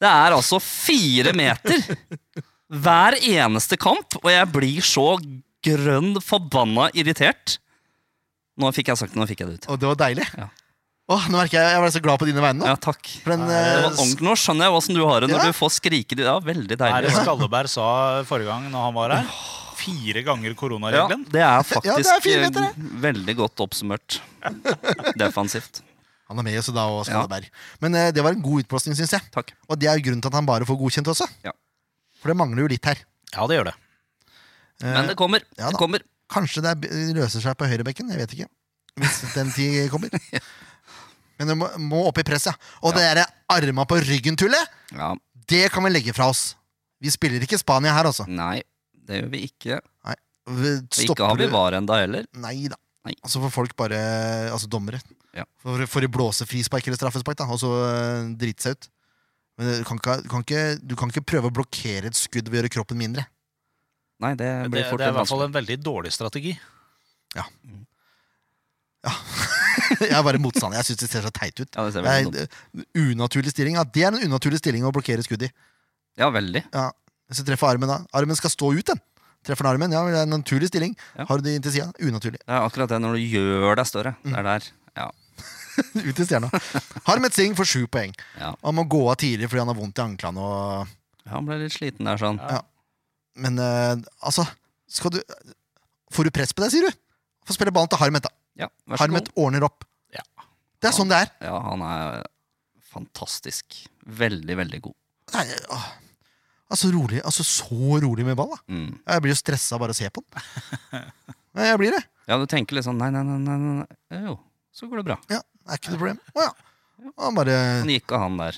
Det er altså fire meter hver eneste kamp, og jeg blir så grønn forbanna irritert. Nå fikk jeg sagt det, nå fikk jeg det ut. og det var deilig. Ja. Åh, nå merker jeg jeg ble så glad på dine vegne nå. Ja, takk. For en, Det eh, var ordentlig, nå skjønner jeg åssen du har det når Ja. du får skrike. Det var veldig Hva er det deilig. Skalleberg sa forrige gang når han var her? Fire ganger Ja, koronaregelen. det er faktisk Ja, det er fire meter, eh, veldig godt oppsummert. Defensivt. han er med oss da, og Skalleberg. Men eh, det var en god utblåsning, syns jeg. Takk. Og det er jo grunnen til at han bare får godkjent også. Ja. For det mangler jo litt her. Ja, det gjør det. Eh, Men det kommer. ja da. det kommer. Kanskje det er, løser seg på høyrebekken, jeg vet ikke. Hvis den tid kommer. Men det må, må opp i press, ja. Og det derre arma på ryggen-tullet, Ja, det kan vi legge fra oss. Vi spiller ikke Spania her, altså. nei, det gjør vi ikke. Vi- Og ikke har vi du- VAR enda heller. Nei da. Nei. Og så får folk bare Altså dommere. Ja. For, for å blåse frispark eller straffespark, da, og så eh, drite seg ut. Men du kan, ikke, du, kan ikke, du kan ikke prøve å blokkere et skudd ved å gjøre kroppen mindre. Nei, det Det, blir det fort er i en hvert fall vanskelig. en veldig dårlig strategi. Jeg er bare motstander. Jeg syns det ser så teit ut. Ja, det ser Det veldig dumt ut. er, eh, unaturlig stilling. Ja, det er en unaturlig stilling å blokkere skudd i. Ja, veldig. Ja. Hvis du treffer armen, da. Armen skal stå ut, den. Treffer den armen, ja, det er en naturlig stilling. Ja. Har du det inn til sida? Unaturlig. Det er akkurat det når du gjør deg større. Det Mm. er der. Ja. ut til stjerna. Harmet Singh får sju poeng. Ja. Han må gå av tidlig fordi han har vondt i anklene og Ja, Han ble litt sliten der, sånn. Men eh, altså skal du, Får du press på deg, sier du? Få spille ballen til Harmet, da. Ja, vær så Harmet god. ordner opp. Ja. Det er sånn det er. Ja, han er fantastisk. Veldig, veldig god. Nei, åh. Altså, rolig, altså så rolig med ball, da. Mm. Jeg blir jo stressa bare av å se på den. Nei, Jeg blir det. Ja, du tenker litt sånn nei, nei, nei, nei, nei. nei. Jo, så går det bra. Ja, det er ikke noe problem. Å ja. Han bare Han gikk av han der.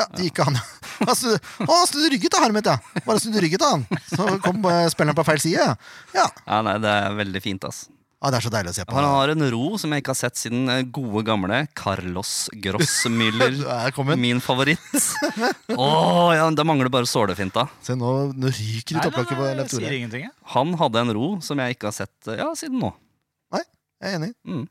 Ja, det gikk an. Altså, å, han snudde ryggen til Harmet, ja! Bare snudde ryggen til han. Så kom eh, spilleren på feil side. Ja. ja. Ja, nei, det er veldig fint, ass. ja, det er så deilig å se på. Han har en ro som jeg ikke har sett siden eh, gode gamle Carlos Grossmüller. Der kom den. Min favoritt. Åh, ja, Da mangler det bare sålefinta. Se, nå, nå ryker det i topplokket på jeg Leif Tore. sier Jeg ingenting. jeg. Han hadde en ro som jeg ikke har sett eh, ja, siden nå. er enig. Mm.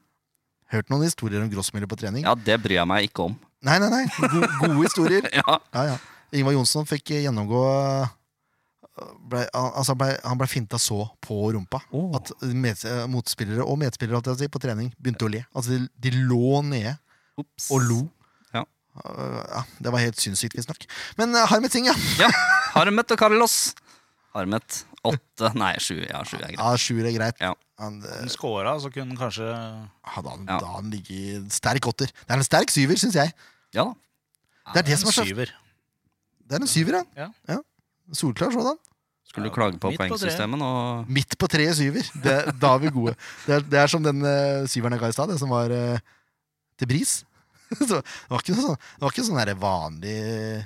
Hørt noen historier om Grossmiller på trening? Ja, Det bryr jeg meg ikke om. Nei, nei, nei. Go gode historier. Ja, Ja, ja. Ingvar Jonsson fikk eh, gjennomgå eh, ble, al- altså ble, Han ble finta så på rumpa Åh. at med, eh, motspillere og medspillere holdt jeg på å si, på trening begynte å le. Altså, de, de lå nede Ops. og lo. Ja. Eh, ja, det var helt sinnssykt, visstnok. Men uh, Harmet Singh, ja. Ja, Harmet og Carlos. Harmet åtte, nei sju. Ja, sju er greit. ja Sjuer er greit. Ja. Han, eh, Han scora, så kunne han altså kanskje hadde han, Ja. Da han ligger sterk åtter. Det er en sterk syver, syns jeg. Ja da. Det er det som er en så- syver. Det er en syver, ja. Ja. ja. Solklar sådan. Skulle du klage på Midt på treet. poengsystemet nå? Midt på treet syver. Det, da er vi gode. Det er, det er som den eh, syveren jeg ga i stad, det som var eh, til bris. Så det var ikke noe sånn, det var ikke sånn der vanlig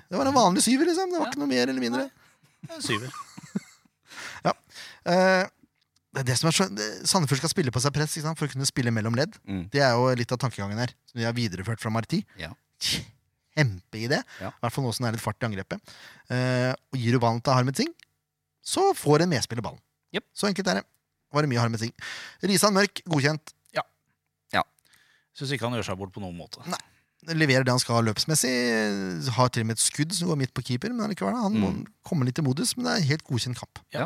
Det var en vanlig syver, liksom. Det var ikke noe mer eller mindre. Det er En syver. Eh, det er det som er så, det- Sandefjord skal spille på seg press ikke sant? for å kunne spille mellom ledd. Mm. Det er jo litt av tankegangen her, som de har videreført fra Marti. Ja. Kjempeidé. I Ja. hvert fall nå som det er litt fart i angrepet. Eh, og gir du ballen til Harmet Singh, så får en medspiller ballen. Jep. Så enkelt er det. Var det mye Harmet Singh. Risan Mørk, godkjent. Syns ikke han gjør seg bort på noen måte. Leverer det han skal ha løpsmessig. Har til og med et skudd som går midt på keeper, men allikevel, han må komme litt i modus, men det er en helt godkjent kamp. Mm. Ja.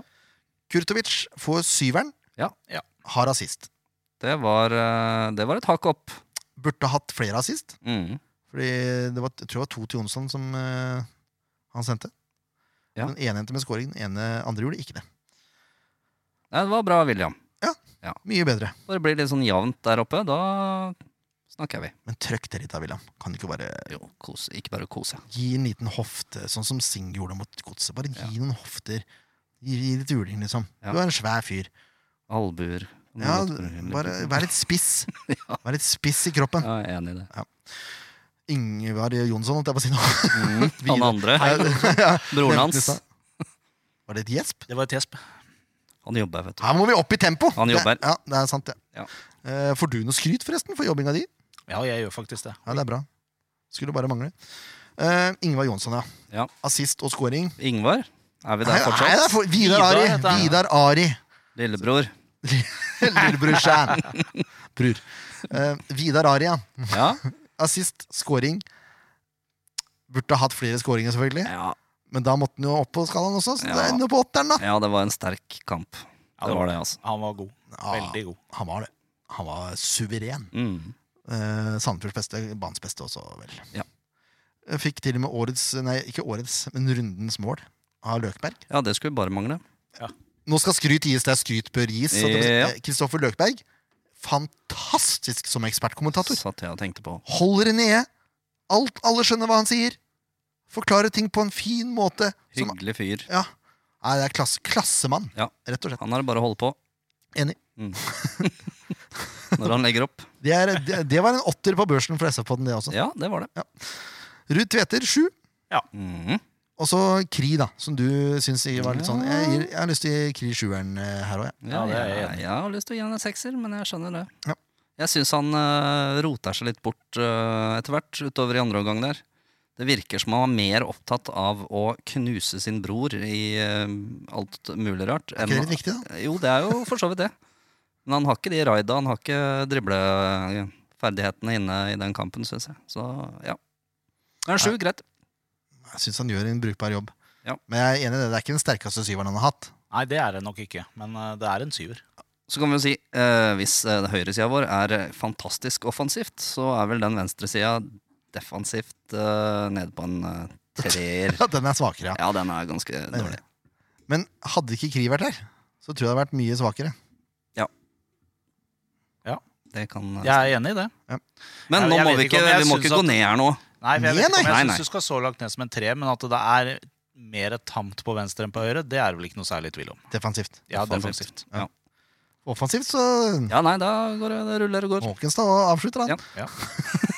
Kurtovic får syveren. Ja. Ja. Har assist. Det var, eh, det var et hakk opp. burde hatt flere assist. Mm. Fordi det var, jeg tror det var to til Jonsson som eh, han sendte. Ja. Den ene endte med scoring, den ene andre gjorde ikke det. Nei, det var bra, William. Mye bedre. Når det blir litt sånn jevnt der oppe, da snakker vi. Men trøkk det litt da, William. Kan du ikke bare Jo, kose. Ikke bare kose. gi en liten hofte, sånn som Sing gjorde mot Godset? Bare gi noen hofter. Gi, gi litt juling, liksom. Ja. Du er en svær fyr. Albuer. Ja, bare Vær litt spiss. Vær litt spiss i kroppen. Ja, jeg er enig i det. Ingvar Jonsson, holdt jeg på å si nå. Mm, Han andre, broren hans, Var det et gjesp? Det var et gjesp. han jobber, vet du. Her må vi opp i tempo! Han jobber. Det, ja, det er sant, det. Ja. Eh, får du noe skryt, forresten, for jobbinga di? Ja, jeg gjør faktisk det. Ja, det er bra. Skulle bare mangle. Eh, Ingvar Jonsson, ja. Ja. Assist og scoring. Ingvar, er vi Nei, der nei, det er fortsatt? for, Vidar Ari! Vidar, dette er- Vidar Ari. Lillebror. Lillebrorsan. Bror. Eh, Vidar Ari, ja. Ja. Assist, scoring. Burde ha hatt flere scoringer, selvfølgelig. ja. Men da måtte han jo opp på skalaen også, så det Ja. ender på åtteren, da. Ja, det var en sterk kamp. Ja, Det var det, altså. Han var god. Veldig god. Ah, han var det. Han var suveren. Mm. Eh, Sandefjords beste, banens beste også, vel. Ja. Fikk til og med årets, nei, ikke årets, men rundens mål av Løkberg. Ja, det skulle bare mangle. Nå skal skryt gis der skryt bør gis. så det- Ja. Kristoffer Løkberg, fantastisk som ekspertkommentator. Satt jeg og tenkte på. Holder det nede. Alt, alle skjønner hva han sier. Forklarer ting på en fin måte. Som, Hyggelig fyr. ja. Nei, det er klasse, klassemann, Ja. rett og slett. Han har det bare å holde på Mm. Enig. når han legger opp. Det, er, det, det var en åtter på børsen for SF-podden, det også. Ja, det var det. Ruud Tveter, sju. Mm. Og så Kri, da, som du syns var litt sånn Jeg, gir, jeg har lyst til å gi Kri sjueren eh, her òg, jeg. Ja, Ja, det er jeg jeg, enig i. jeg har lyst til å gi han en sekser, men jeg skjønner det. Ja. Jeg syns han uh, roter seg litt bort eh, etter hvert, utover i andre omgang der. Det virker som han var mer opptatt av å knuse sin bror i eh, alt mulig rart. Er ikke det litt viktig, da? Jo, det er jo for så vidt det. Men han har ikke de raida, han har ikke dribleferdighetene inne i den kampen, syns jeg. Så ja. Men sju, greit. Jeg syns han gjør en brukbar jobb. Ja. Men jeg er enig i det. Det er ikke den sterkeste syveren han har hatt. Nei, det er det nok ikke, men eh, det er en syver. Så kan vi jo si, eh, hvis eh, høyresida vår er eh, fantastisk offensivt, så er vel den venstresida defensivt eh, nede på en eh, treer. Ja, den er svakere, ja. Ja, den er ganske dårlig. Men hadde ikke Kri vært der, så tror jeg det hadde vært mye svakere. Det kan, eh, Jeg er enig i det. men jeg- nå jeg må vet vi ikke ikke, om jeg vi må synes ikke gå at- ned her nå. Nei, for jeg Nei, vet ikke nei. om jeg Nei, syns du skal så langt ned som en tre, men at det er mer tamt på venstre enn på høyre, det er det vel ikke noe særlig tvil om. Defensivt. Ja, Offensivt. defensivt. Ja. Offensivt, så ja, nei, da går det, det ruller og går. Håkenstad avslutter, han. Ja.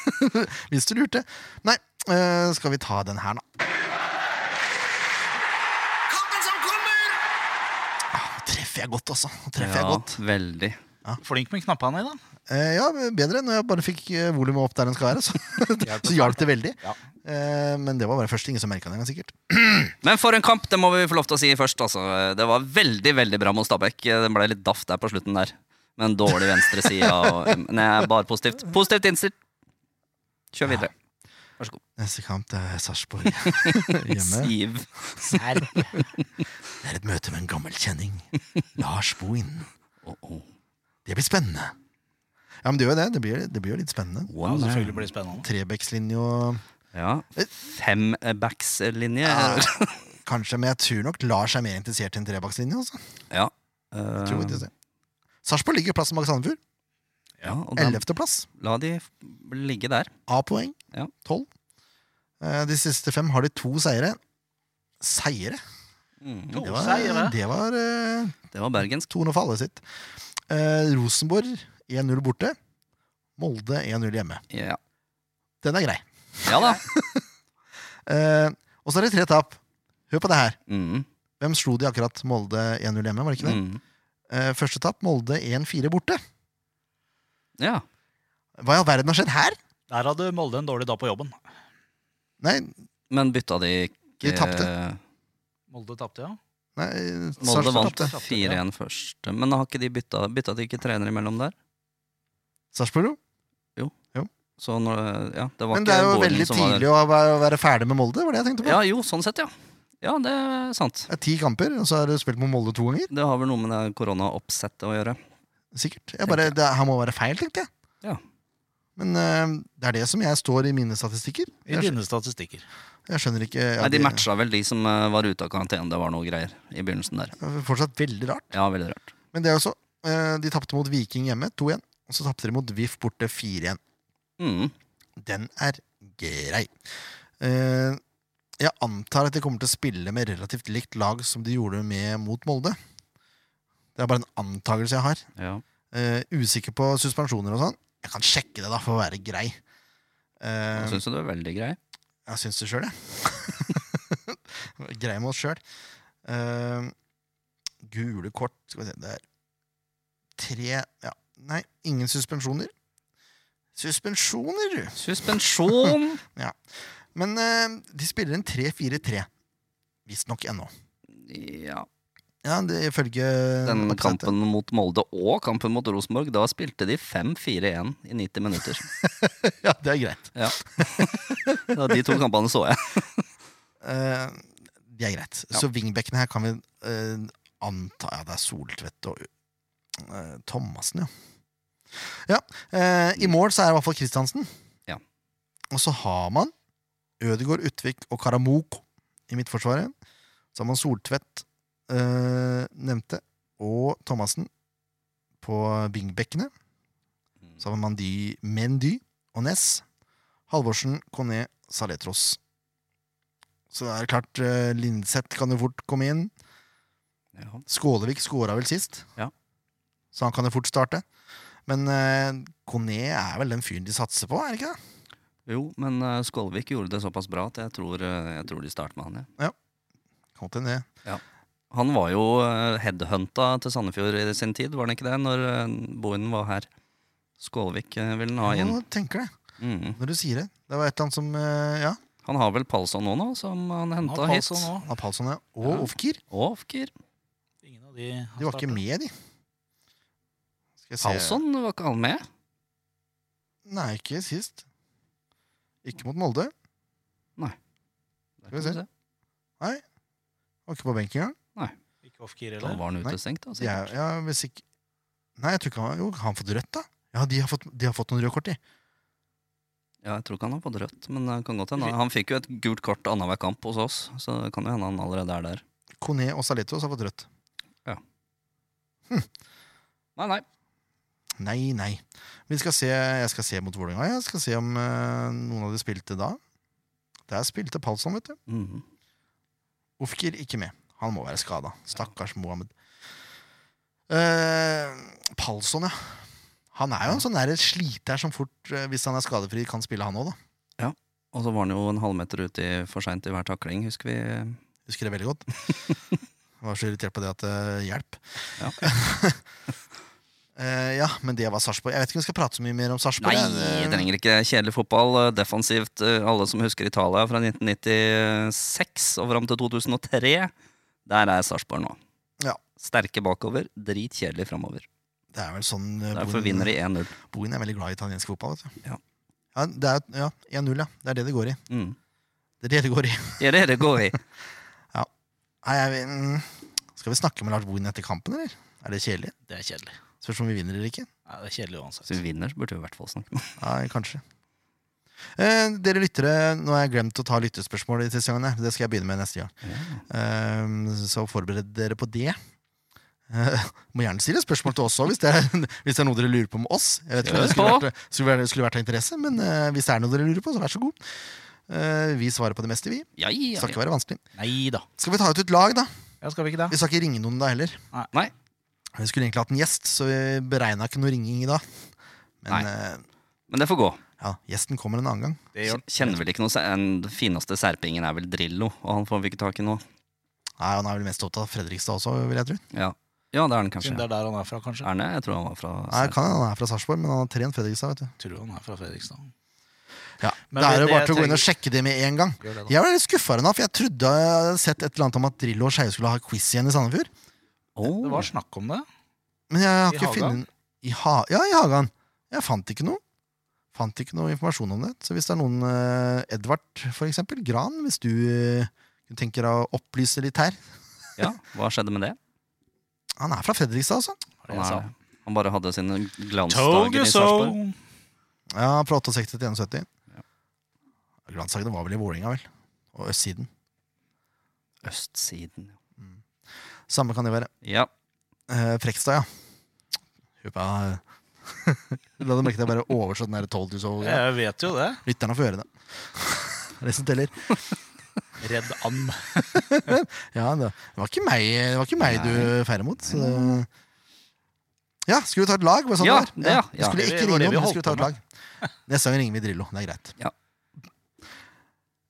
Hvis du lurte. Nei, eh, skal vi ta den her, da? Kampen som kommer! Ah, Nå treffer jeg godt, også. Nå treffer Ja, jeg godt. veldig. Flink med knappene i, da. Eh, ja, bedre når jeg bare fikk eh, volumet opp der den skal være. Så, så hjalp det veldig. Ja. Eh, men det var bare først. Ingen som merka det engang, sikkert. Men for en kamp, det må vi få lov til å si først. Altså. Det var veldig veldig bra mot Stabæk. Den ble litt daff der på slutten der. Med en dårlig venstreside. og- Nei, bare positivt. Positivt innstilt. Kjør videre. Neste kamp det er Sarpsborg hjemme. Siv. Det er et møte med en gammel kjenning. Lars Bohin. Oh, oh. Det blir spennende. Ja, men det gjør jo det. Det blir, det blir jo litt spennende. Ja, One man. selvfølgelig blir det spennende. Trebekslinje og Ja. eh, Fembackslinje. Ja. Kanskje, men jeg tror nok Lars er mer interessert i en trebakslinje. Altså. Ja. Jeg Eh, tror faktisk det. Sarpsborg ligger plassen bak Sandefjord. ja og da, Ellevteplass. la de f- ligge der. A-poeng. Ja. Tolv. Eh, De siste fem har de to seire. Seire? To Det var, seire. det var eh, Det var bergensk. Tone Falle sitt. Eh, Rosenborg 1-0 borte. Molde 1-0 hjemme. Ja, Den er grei. ja da. Eh, og så er det tre tap. Hør på det her. Mm, Hvem slo de akkurat? Molde 1-0 hjemme, var det ikke det? mm. Eh, første tap, Molde 1-4 borte. Ja. Hva i all verden har skjedd her? Der hadde Molde en dårlig dag på jobben. Nei, Men bytta de ikke De tapte. Molde tapte, ja. nei eh, Molde Sarpsborg vant tapte. 4-1 først. Men har ikke de bytta, bytta de ikke trener imellom der? Sarpsborg, jo. Så når, ja, det var Men ikke det er jo Boren veldig som var- tidlig å være, være ferdig med Molde, var det jeg tenkte på. Ja, jo, sånn sett, ja. Ja, det er sant. Det er ti kamper, og så har du spilt mot Molde to ganger. Det har vel noe med det koronaoppsettet å gjøre. Sikkert. Jeg bare, det, her må være feil, tenkte jeg. Ja. Men eh, det er det som jeg står i mine statistikker. I Jeg, dine statistikker. skj- jeg skjønner ikke ja, Nei, De det- matcha vel de som eh, var ute av karantene. Det var noe greier i begynnelsen der. det er Fortsatt veldig rart. Ja, veldig rart. Men det er også eh, De tapte mot Viking hjemme 2-1, og så tapte de mot VIF borte 4-1. Mm. Den er grei. Eh, jeg antar at de kommer til å spille med relativt likt lag som de gjorde med mot Molde. Det er bare en antakelse jeg har. Ja. Eh, usikker på suspensjoner og sånn. Jeg kan sjekke det, da, for å være grei. Eh, Jeg syns jo det er veldig grei. Jeg syns det sjøl, jeg. Grei med oss sjøl. gule kort Skal vi se Det er tre ja. Nei, ingen suspensjoner. Suspensjoner! du. Suspensjon! Men eh, de spiller en 3-4-3. Visstnok ennå. ja. Ja, det ifølge Den oppsettet. kampen mot Molde og kampen mot Rosenborg, da spilte de 5-4-1 i 90 minutter. Ja, det er greit. Ja, De to kampene så jeg. Eh, det er greit. Ja. Så wingbackene her kan vi eh, anta Ja, det er Soltvedt og eh, Thomassen, ja. ja eh, I mål så er det i hvert fall Kristiansen. Mm. Ja. Og så har man Ødegaard, Utvik og Karamoko i midtforsvaret. Så har man Soltvedt, eh, nevnte, og Thomassen på wingbackene. Mm. Så har man Mandy, Mendy og Ness. Halvorsen, Kone, Saletros. Så det er klart, eh, Lindseth kan jo fort komme inn. Ja. Skålevik skåra vel sist, Ja. så han kan jo fort starte. Men eh, Kone er vel den fyren de satser på, er det ikke det? Jo, men eh, Skålvik gjorde det såpass bra at jeg tror, eh, jeg tror de starter med han. Ja. Kan til det. Han var jo eh, headhunta til Sandefjord i sin tid, var han ikke det? Når eh, Bohinen var her. Skålvik eh, ville han ha inn. Nå tenker det, Mm. når du sier det. Det var et eller annet som eh, Ja, Han har vel Palsson nå, nå, som han Han henta har hit. Palsson også. Apalsson ja. og Ja. Ofkir. Og Ofkir. Ingen av de har De var ikke startet. med, de. Skal jeg se- Palsson, var ikke han med? Nei, ikke sist. Ikke mot Molde. Der kan Skal vi du se. Var ikke på benk engang. Ikke off-gear, Da eller? var han Nei. utestengt, da, De er- sikkert. ja, hvis ikke Nei, jeg tror ikke han Jo, har han fått rødt, da? Ja, de har fått, de har fått noen røde kort, de. Ja, jeg tror ikke han har fått rødt, men det kan godt hende. Han fikk jo et gult kort annenhver kamp hos oss, så det kan jo hende han allerede er der. Kone og Saletros har fått rødt. Nei, nei. Nei, nei. Vi skal se, jeg skal se mot Vålerenga. Jeg skal se om eh, noen av de spilte da. Der spilte Palsson, vet du. Mhm. Ofkir ikke med. Han må være skada. Stakkars Mohammed. Eh, Palsson, ja. Han er jo en sånn der sliter som fort, eh, hvis han er skadefri, kan spille han òg, da. Og så var han jo en halvmeter ute i- for seint i hver takling, husker vi. Husker det veldig godt. Jeg var så irritert på det at eh, Hjelp. Ja. Eh, ja, men det var Sarpsborg. Jeg vet ikke om vi skal prate så mye mer om Sarpsborg. Nei, jeg. jeg trenger ikke kjedelig fotball. eh, Defensivt. eh, Alle som husker Italia fra 1996 og fram til 2003. Der er Sarpsborg nå. Ja. Sterke bakover, dritkjedelig framover. Det er vel sånn eh, Derfor Bohin- vinner de 1-0. Bohin er veldig glad i italiensk fotball. Vet du. Ja. Ja, det er, ja, 1-0, ja. Det er det det går i. Mm. Det er det det går i. Ja, det er det går i. Nei, jeg, vet- mm. skal vi snakke med Lars Bohin etter kampen, eller? Er det kjedelig? Det er kjedelig. Spørs om vi vinner eller ikke. Nei, det er kjedelig Så vi uansett. vinner, så burde vi i hvert fall snakke med Nei, kanskje. Eh, dere lyttere, nå har jeg glemt å ta lyttespørsmål i sesongen. her. Det skal jeg begynne med neste gang. Eh, så forbered dere på det. Eh, må gjerne stille spørsmål til oss òg, hvis, det er- hvis det er noe dere lurer på om oss. Jeg vet ikke om det Kjør skulle på. vært, skulle, vært, skulle vært av interesse, men eh, hvis det er noe dere lurer på, så vær så god. Eh, vi svarer på det meste, vi. Ja, ja, Skal ja. ikke være vanskelig. Nei da. Skal vi ta ut et lag, da? Ja, skal vi ikke Vi det? skal ikke ringe noen da heller. Nei. Vi skulle egentlig hatt en gjest, så vi beregna ikke noe ringing i dag. Men eh, Men det får gå. ja, gjesten kommer en annen gang. Det gjør den. Kjenner vel ikke noe se- Den fineste serpingen er vel Drillo, og han får vi ikke tak i nå. Nei, Han er vel mest opptatt av Fredrikstad også, vil jeg tro. Ja, ja det er den kanskje. Siden det er der han er fra, kanskje. Er det? Jeg tror han var fra Nei, kan hende han er fra Sarpsborg, men han har trent Fredrikstad. vet du Jeg tror han er fra Fredrikstad. ja. Men Det er det- jo bare det til å gå inn og trenger- sjekke det med en gang. Gjør det, da. Jeg ble litt skuffa, for jeg trodde jeg hadde sett et eller annet om at Drillo og Skeie skulle ha quiz igjen i Sandefjord. Åh. Det var snakk om det. Men jeg har I ikke Hagan? funnet I ha Ja, i Hagan. Jeg fant ikke noe. Fant ikke noe informasjon om det. Så hvis det er noen eh, Edvard, for eksempel, Gran, hvis du eh, tenker å opplyse litt her Ja, Hva skjedde med det? Han er fra Fredrikstad, altså. Var det Han, jeg sa. er, han bare hadde sine Told glansdager you i so. Sarpsborg. Ja, fra 68 til 71. Glanshagen var vel i Vålinga, vel. Og østsiden. Østsiden. Samme kan det være. Ja. Eh, Frekstad, ja. Huppa La du merke til at jeg bare oversatte den der 12 du så? Ja. Jeg vet jo det. Lytterne får høre det. Det er det som teller. Redd and. Ja, det var ikke meg, det var ikke meg du feirer mot. Så det... Ja, skulle vi ta et lag? Var det Sånn Ja, det var? det, ja. Vi skulle Ja, det ikke var ringe det vi om, vi holdt skulle ta på et lag. Neste gang ringer vi Drillo. Det er greit. Ja.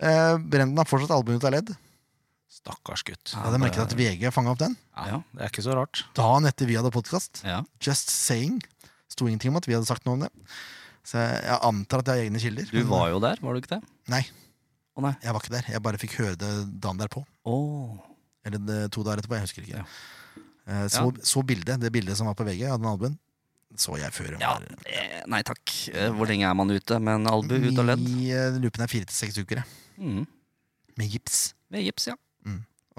Eh, Brenden har fortsatt albuen ut av ledd. Stakkars gutt. Jeg hadde merket at VG fanga opp den. Ja. Ja, det er ikke så rart. Dagen etter vi hadde podkast. Ja. Just saying. Sto ingenting om at vi hadde sagt noe om det. Så jeg, jeg antar at jeg har egne kilder. Du men- var jo der, var du ikke det? Nei, Å nei. jeg var ikke der. Jeg bare fikk høre det dagen derpå. Åh. Eller det- to dager etterpå. Jeg husker ikke. Ja. Eh, Så, så bildet, det bildet som var på VG av den albuen, så jeg før. hun Ja, var- eh, nei takk. Eh, Hvor lenge er man ute med en albu ut av ledd? I eh, lupen er fire til seks uker, jeg. Mm. Med gips. Med gips, ja.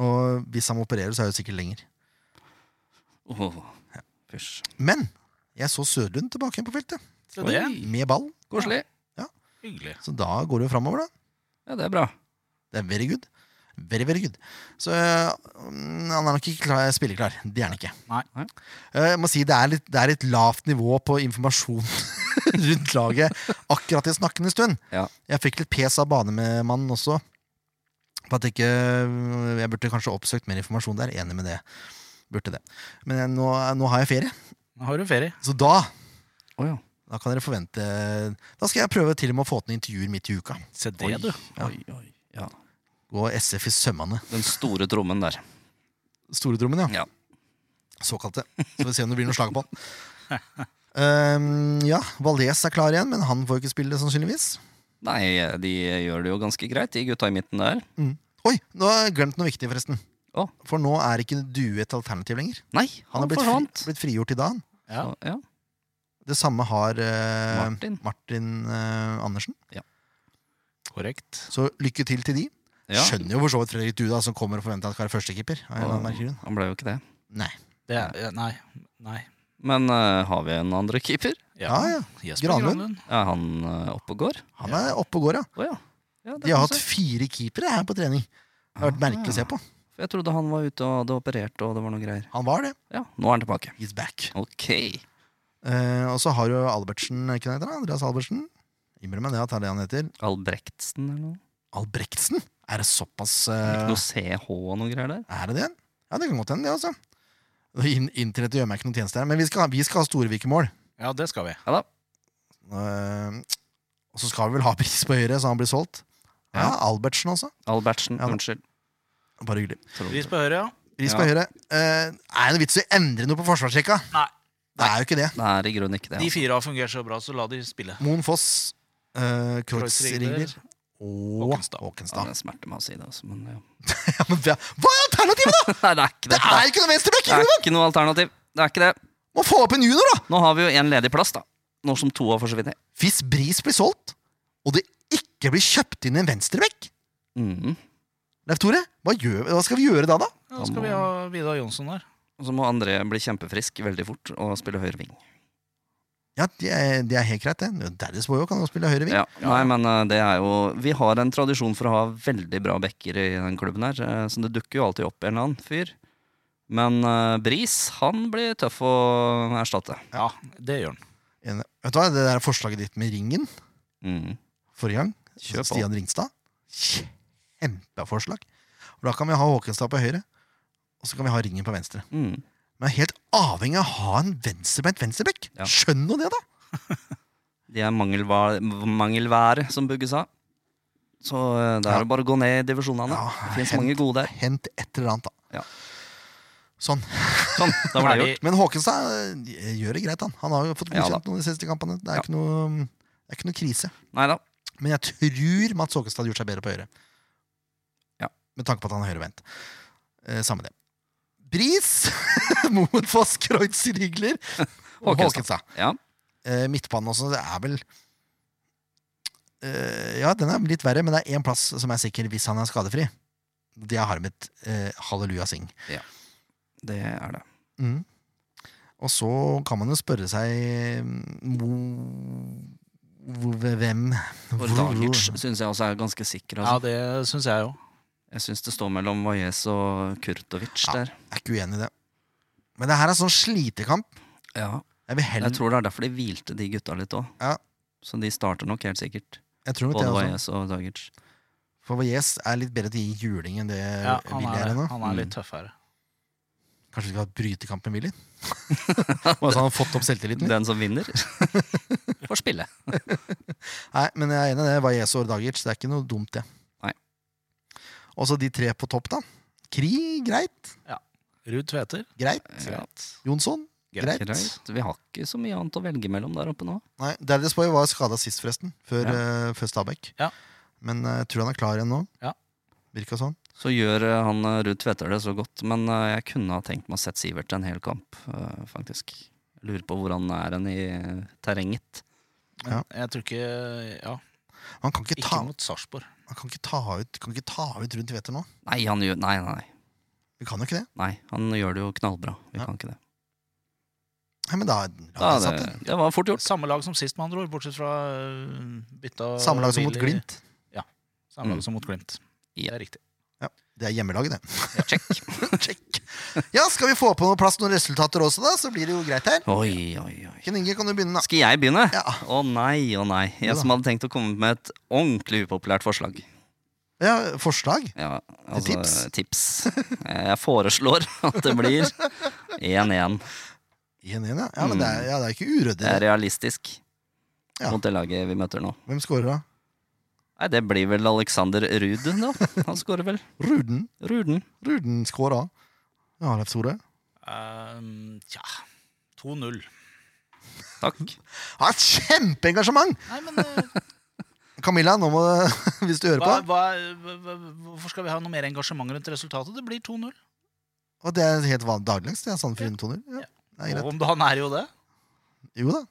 Og hvis han må operere, så er det sikkert lenger. Åh. Fysj. Men jeg så Sørlund tilbake igjen på feltet, Så det er Oi, med ball. Koselig. hyggelig. Så da går det jo framover, da. Ja, det er bra. Det er very good. Very, very good. Så øh, mm, han er nok ikke klar, spilleklar. Det er han ikke. Nei. Nei. Eh, Jeg må si det er litt, det er litt lavt nivå på informasjon rundt laget akkurat i snakkende stund. Ja. Jeg fikk litt pes av banemannen også. På at jeg ikke eh, Jeg burde kanskje oppsøkt mer informasjon der. Enig med det. Burde det. Men jeg, nå, nå har jeg ferie, Nå har du ferie. så da Å ja. da kan dere forvente Da skal jeg prøve til og med å få til intervjuer midt i uka. Se det, du. Ja. Oi, oi. Ja. Gå SF i sømmene. Den store trommen der. Storetrommen, ja. Ja. Såkalte. Så vi ser om det blir noe slag på han. Ehm, ja, Valdes er klar igjen, men han får jo ikke spille, sannsynligvis. Nei, de gjør det jo ganske greit, de gutta i midten der. Oi, nå har jeg glemt noe viktig, forresten. Å. For nå er ikke Due et alternativ lenger. Nei, Han han, har blitt, forsvant. fri, blitt frigjort i dag. han. Ja. Så, Ja. Det samme har eh, Martin. Martin, eh, Andersen. Korrekt. Så lykke til til de. Ja. Skjønner jo for så vidt Fredrik Due, da, som kommer og forventer at han skal være førstekeeper. av en eller annen merkelig grunn. Han ble jo ikke det. Nei. Det er, ja, nei. Nei. Men eh, har vi en andre keeper? Ja, ja. Jesper Granlund. Granlund. Er han eh, oppe og går? Han er oppe og går, ja. Å ja. ja det De har kan hatt du si. fire keepere her på trening. Det har vært merkelig å se på. For Jeg trodde han var ute og hadde operert og det var noe greier. Han var det. Ja, nå er han tilbake. He's back. Ok. Eh, og så har jo Albertsen, er ikke det han heter? da? Andreas Albertsen. Innrømmer meg det at det er det han heter. Albrektsen eller noe? Albrektsen? Er det såpass Er det eh, Ikke noe CH og noe greier der? Er det det? Ja, det kan godt hende, det, altså. In Internettet gjør meg ikke noen tjeneste her. Men vi skal, vi skal ha Storevik-mål. Ja, det skal vi. Ja da. Eh, og så skal vi vel ha pris på høyre, så han blir solgt. Ja, Albertsen også. Albertsen. Ja da. Unnskyld. Bare hyggelig. Tror Pris det. på høyre, ja. Pris på Ja. høyre. Eh, er det noe vits i å endre noe på forsvarsrekka? Nei. Det er jo ikke det. Det er i grunnen ikke det. De altså. fire har fungert så bra, så la de spille. Moen Foss, eh, Kreuzrigler. Kreuzrigler og Håkenstad. Ja, Håkenstad. det smerter meg å si det, altså. Men ja. Ja, men hva hva er alternativet, da?! Nei, det er ikke Det det. er ikke noe venstrebekk! Det er ikke noe alternativ. Det er ikke det. Må få opp en junior, da! Nå har vi jo én ledig plass, da. Nå som to har forsvunnet. Hvis Bris blir solgt, og det ikke blir kjøpt inn en venstrebekk Mhm. Leif Tore, hva, gjør, hva skal vi gjøre da, da? Ja, Da skal vi ha Vidar Jonsson der. Og så må André bli kjempefrisk veldig fort og spille høyre ving. Ja, Det er, det er helt greit, det. Dallas Boyo kan jo spille høyreving. Ja. Nei, men eh, det er jo Vi har en tradisjon for å ha veldig bra backer i den klubben her, eh, så det dukker jo alltid opp en eller annen fyr. Men eh, Bris, han blir tøff å erstatte. Ja, det gjør han. En- Vet du hva, Det der forslaget ditt med ringen Mhm. forrige gang, Kjør på. Stian Ringstad Kjempeforslag. Og da kan vi ha Håkenstad på høyre, og så kan vi ha Ringen på venstre. Mm. Men jeg er helt avhengig av å ha en venstrebeint venstrebekk. Ja. Skjønn nå det, da! De er mangelva- mangelvære, som Bugge sa. Så eh, det Ja. er jo bare å gå ned i divisjonene. Ja, det fins hent- mange gode der. Hent et eller annet, da. Ja. Sånn. Sånn, da var det Ferdig. gjort. Men Håkenstad eh, gjør det greit, han. Han har jo fått Ja, godkjent da. noen de siste kampene. Det er, Ja. ikke noe, det er ikke noe krise. Neida. Men jeg tror Mats Håkenstad hadde gjort seg bedre på høyre. Ja. Med tanke på at han er høyrevendt. Eh, samme det. Bris mot Foss, Kreutz, Rigler og Håkenstad. Håkenstad. Ja. Eh, midtbanen også, det er vel eh, Ja, den er litt verre, men det er én plass som er sikker hvis han er skadefri. Det er Harmet eh, Halleluja Singh. Det er det. Mm. Og så kan man jo spørre seg mm, hvor- hvor- Hvem Ordagic syns jeg også er ganske sikker. Ja, Altså. det syns jeg jo. Jeg syns det står mellom Vajez og Kurtovic Ja. der. Jeg er ikke uenig i det. Men det her er sånn slitekamp. Ja. Jeg, vil heller, Jeg jeg, tror, tror det er derfor de hvilte de gutta litt òg. Ja. Så de starter nok helt sikkert. nok det Både også. Vajez og Ordagic. For Valles er litt bedre til å gi juling enn det Ja, han, Willy er er, ennå. han er litt tøffere. Kanskje vi skal ha et brytekamp med Willy? Bare så han har fått opp selvtilliten litt. Den som vinner, får spille. Nei, men jeg er enig i det. Valles og Ordagic, det er ikke noe dumt, det. Nei. Og så de tre på topp, da. Kri, greit. Ruud Tveter. Greit. Greit. Jonsson, greit. Greit. Vi har ikke så mye annet å velge mellom der oppe nå. Nei, Darius Boy var skada sist, forresten. Før, Ja. eh, før Stabæk. Ja. Men eh, jeg tror han er klar igjen nå. Ja. Virka sånn. Så gjør eh, han eh, Ruud Tveter det så godt, men eh, jeg kunne ha tenkt meg å sette Sivert en hel kamp, eh, faktisk. Jeg Lurer på hvor han er hen i eh, terrenget. Men Ja. jeg tror ikke Ja, Han kan ikke ta, ikke mot Sarpsborg. han kan ikke ta ut Kan ikke ta ut rundt Tveter nå. Nei, han gjør, nei, nei, Vi kan jo ikke det. nei, han gjør det jo knallbra. Vi Ja. kan ikke det. Nei, men da, Da, la det, det, satt det. det var fort gjort. Samme lag som sist, med andre ord. Bortsett fra øh, bytta Samme lag som mot Willy- Glimt. Samme Mm. lag som mot Glimt. Det Ja. er riktig. Det er hjemmelaget, det. Check. Check. Ja, skal vi få på noe plass noen resultater også, da? Så blir det jo greit her. Oi, oi, oi. Ken Inge, kan du begynne, da? Skal jeg begynne? Ja. Å nei, å nei. Jo Jeg da. som hadde tenkt å komme med et ordentlig upopulært forslag. ja forslag? Ja, altså, Tips? tips. Jeg foreslår at det blir 1-1. 1-1, ja. ja. Men det er, ja, det er ikke uryddig. Det er realistisk Ja. mot det laget vi møter nå. Hvem scorer, da? Nei, det blir vel Alexander Ruud, da. Han skårer vel. Ruden. Ruden. Ruden scorer. Ja, Leif Tore. Ehm, Tja 2-0. Takk. Ja, kjempeengasjement! Nei, men øh, Camilla, nå må du, hvis du hører hva, på. hva, hva, hva- hvorfor skal vi ha noe mer engasjement rundt resultatet? Det blir 2-0. Og det er helt vanlig dagligdags. Det er sånn for inntoner. Ja. Det er Og greit. om det- han er jo det. Jo da.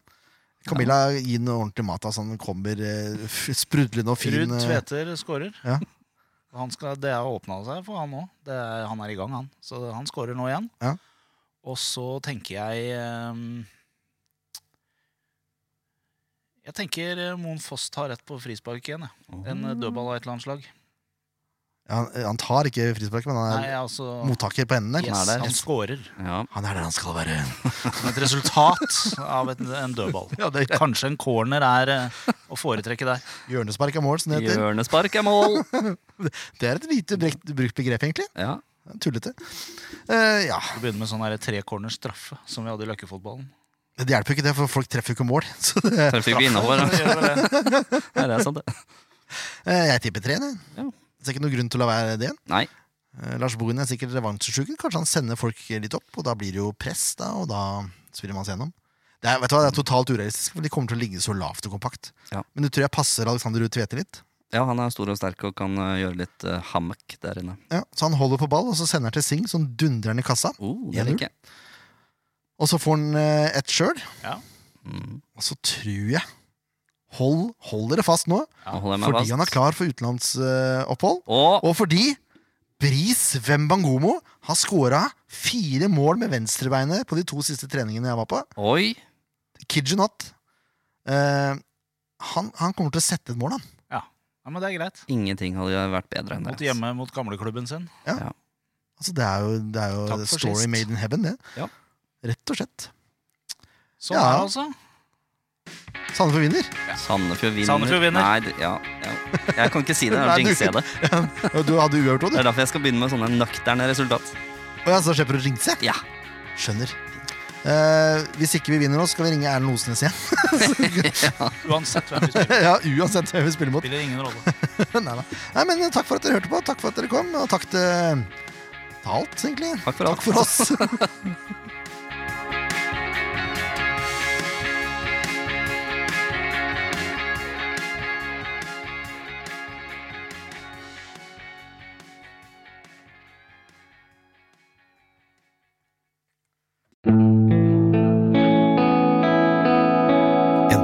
Camilla, gi den ordentlig mat. Altså, den kommer eh, f- sprudlende og fin. Ruud eh, Tveter skårer. Ja. Han skal, det har åpna seg for han òg. Han er i gang, han. Så han skårer nå igjen. Ja. Og så tenker jeg ehm, Jeg tenker eh, Moen Foss tar rett på frispark igjen. Jeg. En eh, dødball av et eller annet slag. han, han tar ikke frispark, men han er Nei, altså mottaker på enden der. Ja. yes, der. Han skårer. Ja. Han er der han skal være. Som et resultat av et, en dødball. Kanskje en corner er eh, å foretrekke der. Hjørnespark er mål, som det heter. Hjørnespark er mål. Det er et lite brekt, brukt begrep, egentlig. Ja. Det er Tullete. Eh, ja, Vi begynner med sånn her tre corners straffe som vi hadde i løkkefotballen. Det hjelper jo ikke, det, for folk treffer jo ikke mål. Så det, Der fikk vi innover. da. Gjør vel det. Nei, det er sant, det. eh, jeg tipper tre. Det. Ja. Så det er ikke noen grunn til å la være det. Nei. Eh, Lars Bohin er sikkert revansjesjuken. Kanskje han sender folk litt opp, og da blir det jo press, da, og da spiller man seg gjennom. Det er, vet du hva, det er totalt urealistisk, for de kommer til å ligge så lavt og kompakt. Ja. Men du tror jeg passer Alexander Ruud Tvete litt? Ja, han er stor og sterk og kan eh, gjøre litt eh, hammock der inne. Ja, så han holder på ball, og så sender han til Singh, som dundrer han i kassa. Oh, det 1-0. liker jeg. Og så får han eh, et sjøl, Mm. og så tror jeg Hold, hold dere fast nå, Nå holder jeg meg fordi han er fast. klar for utenlandsopphold. Og og fordi Bris Wembangomo har skåra fire mål med venstrebeinet på de to siste treningene jeg var på. Oi! Kid you not. Eh, han, han kommer til å sette et mål, han. Ja, men det er greit. Ingenting hadde vært bedre enn det. Mot altså. hjemme mot gamleklubben sin. Altså, det er jo, det er jo Takk for story sist. made in heaven, det. Ja. Rett og slett. Sånn Ja. er det altså. Sandefjord vinner. Sandefjord vinner. Sandefjord vinner. Nei, det- ja, ja. Jeg kan ikke si det. Nei, Jeg du- jinxer det. Ja, Du hadde uavgjort òg, du. Det er derfor jeg skal begynne med sånne nøkterne resultat. Og jeg så slipper du å jinxe. Ja. Skjønner. Eh, hvis ikke vi vinner nå, skal vi ringe Erlend Osnes igjen. Uansett hvem vi spiller. ja, Uansett hvem vi spiller mot. Spiller ingen rolle. nei, nei. nei, men Takk for at dere hørte på, takk for at dere kom, og takk til til alt, egentlig. Takk for alt. Takk for oss. En